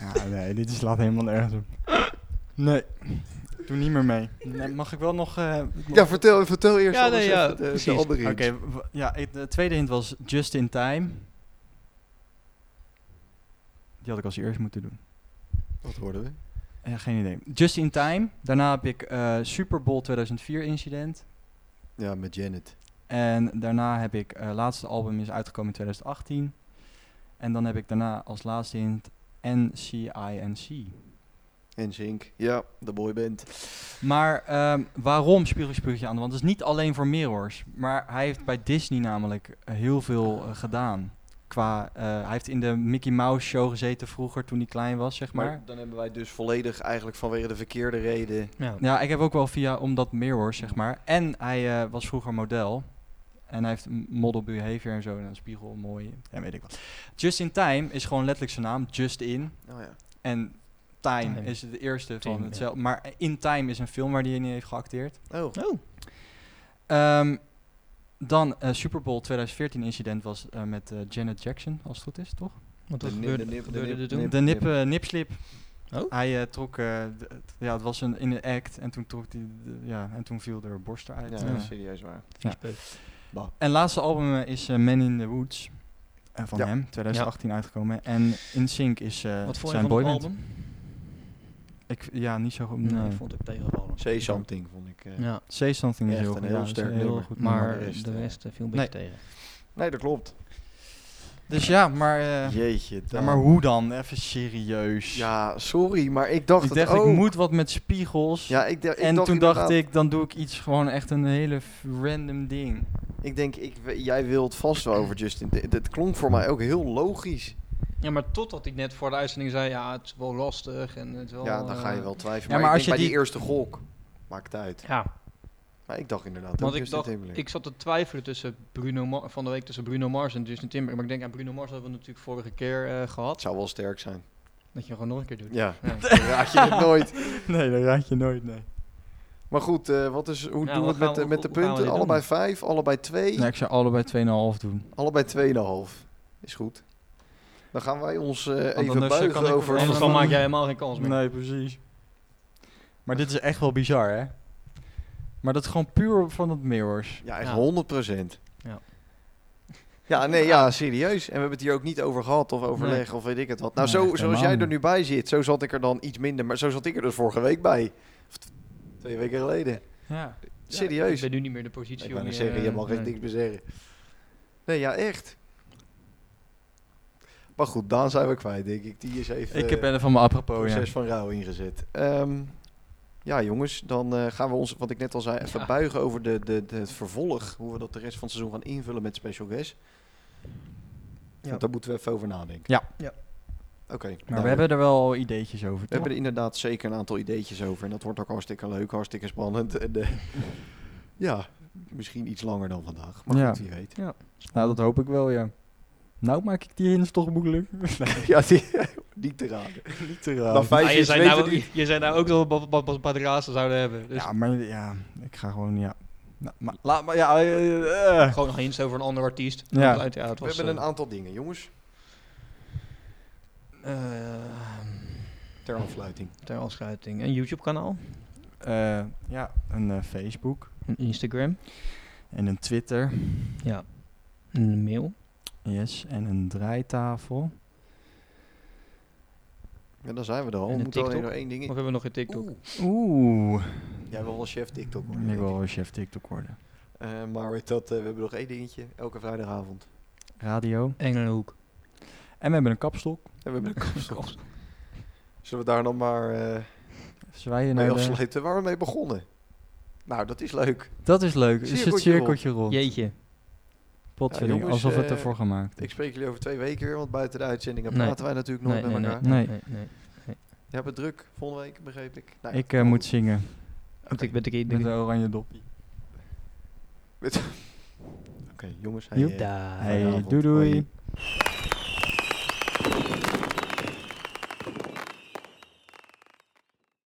[SPEAKER 1] Ja, nee, dit is laat helemaal nergens op. Nee, doe niet meer mee. Nee, mag ik wel nog... eh, ik mag-
[SPEAKER 2] Ja, vertel, vertel eerst
[SPEAKER 3] Ja,
[SPEAKER 2] anders
[SPEAKER 3] nee, ja,
[SPEAKER 2] even de, de
[SPEAKER 3] precies.
[SPEAKER 2] andere
[SPEAKER 1] Oké,
[SPEAKER 2] hint.
[SPEAKER 1] w- ja, ik- de tweede hint was Just in Time. Die had ik als eerst moeten doen.
[SPEAKER 2] Wat hoorden we?
[SPEAKER 1] Ja, geen idee. Just in Time. Daarna heb ik eh Super Bowl 2004 incident.
[SPEAKER 2] Ja, met Janet.
[SPEAKER 1] En daarna heb ik... eh laatste album is uitgekomen in 2018. En dan heb ik daarna als laatste hint NCINC.
[SPEAKER 2] En Zink. Ja, de boyband.
[SPEAKER 1] Maar ehm, waarom Spiegeltje Spiegeltje aan de wand? Het is niet alleen voor Mirrors. Maar hij heeft bij Disney namelijk eh, heel veel eh, gedaan. Qua, eh, hij heeft in de Mickey Mouse show gezeten vroeger toen hij klein was, zeg maar.
[SPEAKER 2] dan hebben wij dus volledig eigenlijk vanwege de verkeerde reden...
[SPEAKER 3] Ja.
[SPEAKER 1] Ja, ik heb ook wel via omdat Mirrors, zeg maar. En hij eh, was vroeger model. En hij heeft m- model behavior en zo. En een spiegel, mooi. En weet ik wat. Just in Time is gewoon letterlijk zijn naam. Just in.
[SPEAKER 2] Oh ja.
[SPEAKER 1] En Time,
[SPEAKER 3] Time.
[SPEAKER 1] is de eerste
[SPEAKER 3] Time,
[SPEAKER 1] van
[SPEAKER 3] ja.
[SPEAKER 1] hetzelfde. Maar In Time is een film waar hij in heeft geacteerd.
[SPEAKER 2] Oh.
[SPEAKER 3] Oh.
[SPEAKER 1] Ehm, Dan eh Super Bowl 2014 incident was eh, met eh, Janet Jackson, als het goed is, toch?
[SPEAKER 3] Want
[SPEAKER 2] De
[SPEAKER 3] dat
[SPEAKER 2] nip-
[SPEAKER 3] gebeurde,
[SPEAKER 2] de nip- de
[SPEAKER 3] gebeurde
[SPEAKER 2] nip-
[SPEAKER 3] er toen.
[SPEAKER 2] nip.
[SPEAKER 1] De nip, eh, nipslip.
[SPEAKER 3] Oh?
[SPEAKER 1] Hij eh, trok, eh, d- t- ja, het was een, in een act en toen, trok die, de- ja, en toen viel er borst eruit.
[SPEAKER 2] Ja,
[SPEAKER 1] Eh,
[SPEAKER 2] serieus waar.
[SPEAKER 3] Vies peuk.
[SPEAKER 1] En laatste album eh, is eh, Man in the Woods eh, van
[SPEAKER 2] Ja.
[SPEAKER 1] hem, 2018 uitgekomen. En In Sync is eh,
[SPEAKER 3] Wat vond je
[SPEAKER 1] zijn
[SPEAKER 3] van het
[SPEAKER 1] boyband.
[SPEAKER 3] album?
[SPEAKER 1] Ik, ja, niet
[SPEAKER 2] Oh,
[SPEAKER 1] zo goed.
[SPEAKER 3] Nee,
[SPEAKER 1] Nee.
[SPEAKER 3] ik vond het ook tegenvallen.
[SPEAKER 2] Say Something vond ik. eh,
[SPEAKER 3] Ja,
[SPEAKER 1] Say Something is
[SPEAKER 2] Echt
[SPEAKER 1] heel,
[SPEAKER 2] een
[SPEAKER 1] goed,
[SPEAKER 2] heel
[SPEAKER 1] ja, is
[SPEAKER 2] sterk
[SPEAKER 1] een heel
[SPEAKER 2] nummer.
[SPEAKER 1] goed. nummer.
[SPEAKER 3] maar
[SPEAKER 2] de rest,
[SPEAKER 3] de
[SPEAKER 2] eh,
[SPEAKER 3] rest eh, viel een beetje tegen.
[SPEAKER 2] Nee, dat klopt.
[SPEAKER 1] Dus ja, maar, eh,
[SPEAKER 2] Jeetje.
[SPEAKER 1] ja,
[SPEAKER 2] dan.
[SPEAKER 1] maar hoe dan? Even serieus.
[SPEAKER 2] Ja, sorry, maar ik dacht
[SPEAKER 1] ik
[SPEAKER 2] het
[SPEAKER 1] dacht,
[SPEAKER 2] ook.
[SPEAKER 1] ik moet wat met spiegels.
[SPEAKER 2] Ja, ik dacht, ik
[SPEAKER 1] en
[SPEAKER 2] dacht
[SPEAKER 1] toen dacht
[SPEAKER 2] inderdaad-
[SPEAKER 1] ik, dan doe ik iets gewoon echt een hele f- random ding.
[SPEAKER 2] Ik denk, ik, we- jij wilt vast wel over Justin. D- Dat klonk voor mij ook heel logisch.
[SPEAKER 3] Ja, maar totdat ik net voor de uitzending zei, ja, het is wel lastig en het is wel...
[SPEAKER 2] ja, dan ga je
[SPEAKER 3] eh,
[SPEAKER 2] wel twijfelen.
[SPEAKER 1] ja, maar
[SPEAKER 2] maar ik
[SPEAKER 1] als
[SPEAKER 2] denk
[SPEAKER 1] je
[SPEAKER 2] bij die eerste gok maakt het uit.
[SPEAKER 3] Ja,
[SPEAKER 2] Maar ik dacht inderdaad
[SPEAKER 3] want
[SPEAKER 2] ook
[SPEAKER 3] ik
[SPEAKER 2] Justin
[SPEAKER 3] dacht,
[SPEAKER 2] Timberlake.
[SPEAKER 3] ik zat te twijfelen tussen Bruno Ma- van de week tussen Bruno Mars en Justin Timberlake. Maar ik denk, ja, Bruno Mars hebben we natuurlijk vorige keer eh,
[SPEAKER 2] Het
[SPEAKER 3] gehad.
[SPEAKER 2] zou wel sterk zijn.
[SPEAKER 3] Dat je gewoon nog een keer doet.
[SPEAKER 2] Ja,
[SPEAKER 3] Ja.
[SPEAKER 2] dan raad je het nooit.
[SPEAKER 1] Nee, dat raad je nooit, nee.
[SPEAKER 2] Maar goed, eh, wat is, hoe
[SPEAKER 3] Ja,
[SPEAKER 2] doen we
[SPEAKER 3] wat
[SPEAKER 2] het
[SPEAKER 3] gaan
[SPEAKER 2] met,
[SPEAKER 3] we-
[SPEAKER 2] de- met de
[SPEAKER 3] hoe gaan we
[SPEAKER 2] punten?
[SPEAKER 3] dit doen?
[SPEAKER 2] Allebei vijf, allebei twee,
[SPEAKER 1] ik zou allebei 2,5 doen.
[SPEAKER 2] allebei tweeënhalf. Is goed. Dan gaan wij ons eh, even
[SPEAKER 1] anders, eh,
[SPEAKER 2] buigen
[SPEAKER 1] kan ik
[SPEAKER 2] over...
[SPEAKER 1] er
[SPEAKER 3] Anders
[SPEAKER 1] dan-
[SPEAKER 3] dan maak jij helemaal geen kans meer.
[SPEAKER 1] Nee, precies. Maar dit is echt wel bizar, hè? Maar dat is gewoon puur van het mirrors.
[SPEAKER 2] Ja, echt
[SPEAKER 3] Ja.
[SPEAKER 2] 100 procent.
[SPEAKER 3] Ja.
[SPEAKER 2] Ja, nee, ja, serieus. En we hebben het hier ook niet over gehad of overleg of weet ik het wat. Nou,
[SPEAKER 1] Nee,
[SPEAKER 2] zo,
[SPEAKER 1] echt
[SPEAKER 2] zoals
[SPEAKER 1] helemaal
[SPEAKER 2] jij er
[SPEAKER 1] niet.
[SPEAKER 2] nu bij zit, zo zat ik er dan iets minder. Maar zo zat ik er dus vorige week bij. Of t- twee weken geleden.
[SPEAKER 1] Ja.
[SPEAKER 3] Ja,
[SPEAKER 2] Serieus.
[SPEAKER 3] Ik ben nu niet meer in de
[SPEAKER 2] ik
[SPEAKER 3] positie. om eh,
[SPEAKER 2] wou net zeggen, je mag echt
[SPEAKER 3] nee.
[SPEAKER 2] niks meer zeggen. eh, Nee, ja, echt. Maar goed, Daan zijn we kwijt, denk ik. Die is even
[SPEAKER 1] Ik
[SPEAKER 2] eh,
[SPEAKER 1] heb er van mijn apropos, ja.
[SPEAKER 2] proces van rouw ingezet. Ehm, ja, jongens, dan eh, gaan we ons, wat ik net al zei, even
[SPEAKER 3] Ja.
[SPEAKER 2] buigen over de, de, de, het vervolg. Hoe we dat de rest van het seizoen gaan invullen met special guests.
[SPEAKER 3] Ja.
[SPEAKER 2] Want daar moeten we even over nadenken.
[SPEAKER 1] Ja.
[SPEAKER 3] Ja.
[SPEAKER 2] Oké.
[SPEAKER 1] Maar we
[SPEAKER 2] nou,
[SPEAKER 1] hebben er wel ideetjes over,
[SPEAKER 2] we hebben er inderdaad zeker een aantal ideetjes over. En dat wordt ook hartstikke leuk, hartstikke spannend. En, eh, ja, misschien iets langer dan vandaag. Maar
[SPEAKER 1] Ja.
[SPEAKER 2] goed, wie weet.
[SPEAKER 1] Nou, dat hoop ik wel, ja. Nou maak ik die hints toch moeilijk.
[SPEAKER 2] Ja, die, niet te raden. Niet te raden. Na vijf
[SPEAKER 3] Ah, je,
[SPEAKER 2] jaar
[SPEAKER 3] zei
[SPEAKER 2] weten
[SPEAKER 3] nou,
[SPEAKER 2] die-
[SPEAKER 3] je zei nou ook dat we Bas- Bas- Bas Padraassen zouden hebben. Dus
[SPEAKER 1] Ja, maar ja, ik ga gewoon, ja. Nou, maar, laat maar, ja. eh, eh.
[SPEAKER 3] gewoon nog eens over een ander artiest.
[SPEAKER 1] Ja.
[SPEAKER 3] Maakt uit, ja dat
[SPEAKER 2] We
[SPEAKER 3] was,
[SPEAKER 2] hebben een
[SPEAKER 3] eh,
[SPEAKER 2] aantal dingen, jongens. Ter afsluiting.
[SPEAKER 3] eh, ter afsluiting. Een YouTube kanaal.
[SPEAKER 1] Eh, ja, een eh, Facebook
[SPEAKER 3] Een Instagram.
[SPEAKER 1] en een Twitter.
[SPEAKER 3] Ja. Een mail.
[SPEAKER 1] Yes, en een draaitafel.
[SPEAKER 2] Ja, dan zijn we er al.
[SPEAKER 3] En
[SPEAKER 2] We
[SPEAKER 3] een
[SPEAKER 2] moeten alleen nog
[SPEAKER 3] TikTok?
[SPEAKER 2] één ding
[SPEAKER 3] Of
[SPEAKER 2] in.
[SPEAKER 3] hebben we nog een TikTok?
[SPEAKER 2] Oeh,
[SPEAKER 1] Oeh,
[SPEAKER 2] Jij wil wel chef TikTok worden.
[SPEAKER 1] ik
[SPEAKER 2] denk
[SPEAKER 1] wil
[SPEAKER 2] ik.
[SPEAKER 1] wel chef TikTok worden.
[SPEAKER 2] Eh, maar weet dat, eh, we hebben nog één dingetje. Elke vrijdagavond.
[SPEAKER 1] Radio.
[SPEAKER 3] Engelenhoek.
[SPEAKER 1] En we hebben een kapstok.
[SPEAKER 2] En we hebben de kapstok. Zullen we daar dan maar eh
[SPEAKER 1] Zwaaien
[SPEAKER 2] mee
[SPEAKER 1] naar de...
[SPEAKER 2] afsluiten waar we mee begonnen? Nou, dat is leuk.
[SPEAKER 1] Dat is leuk. Het is het
[SPEAKER 2] Cirkeltje rond.
[SPEAKER 1] cirkeltje rond.
[SPEAKER 3] Jeetje.
[SPEAKER 1] Potverding,
[SPEAKER 2] Ja, jongens,
[SPEAKER 1] alsof het
[SPEAKER 2] eh,
[SPEAKER 1] ervoor gemaakt
[SPEAKER 2] Ik
[SPEAKER 1] is.
[SPEAKER 2] spreek jullie over twee weken weer, want buiten de uitzendingen
[SPEAKER 3] Nee.
[SPEAKER 2] praten wij natuurlijk nooit
[SPEAKER 3] Nee, nee,
[SPEAKER 2] met elkaar.
[SPEAKER 3] nee,
[SPEAKER 1] Nee.
[SPEAKER 3] nee, nee, nee.
[SPEAKER 2] Je hebt het druk volgende week, begreep ik. Nou ja,
[SPEAKER 1] Ik eh, moet zingen
[SPEAKER 3] Want Ik ben de
[SPEAKER 1] met een
[SPEAKER 3] keer.
[SPEAKER 1] oranje doppie.
[SPEAKER 2] Oké, jongens. hey,
[SPEAKER 1] Joep.
[SPEAKER 2] eh,
[SPEAKER 3] Daar.
[SPEAKER 1] Hey,
[SPEAKER 2] Vanavond.
[SPEAKER 1] doei doei.
[SPEAKER 2] Hoi.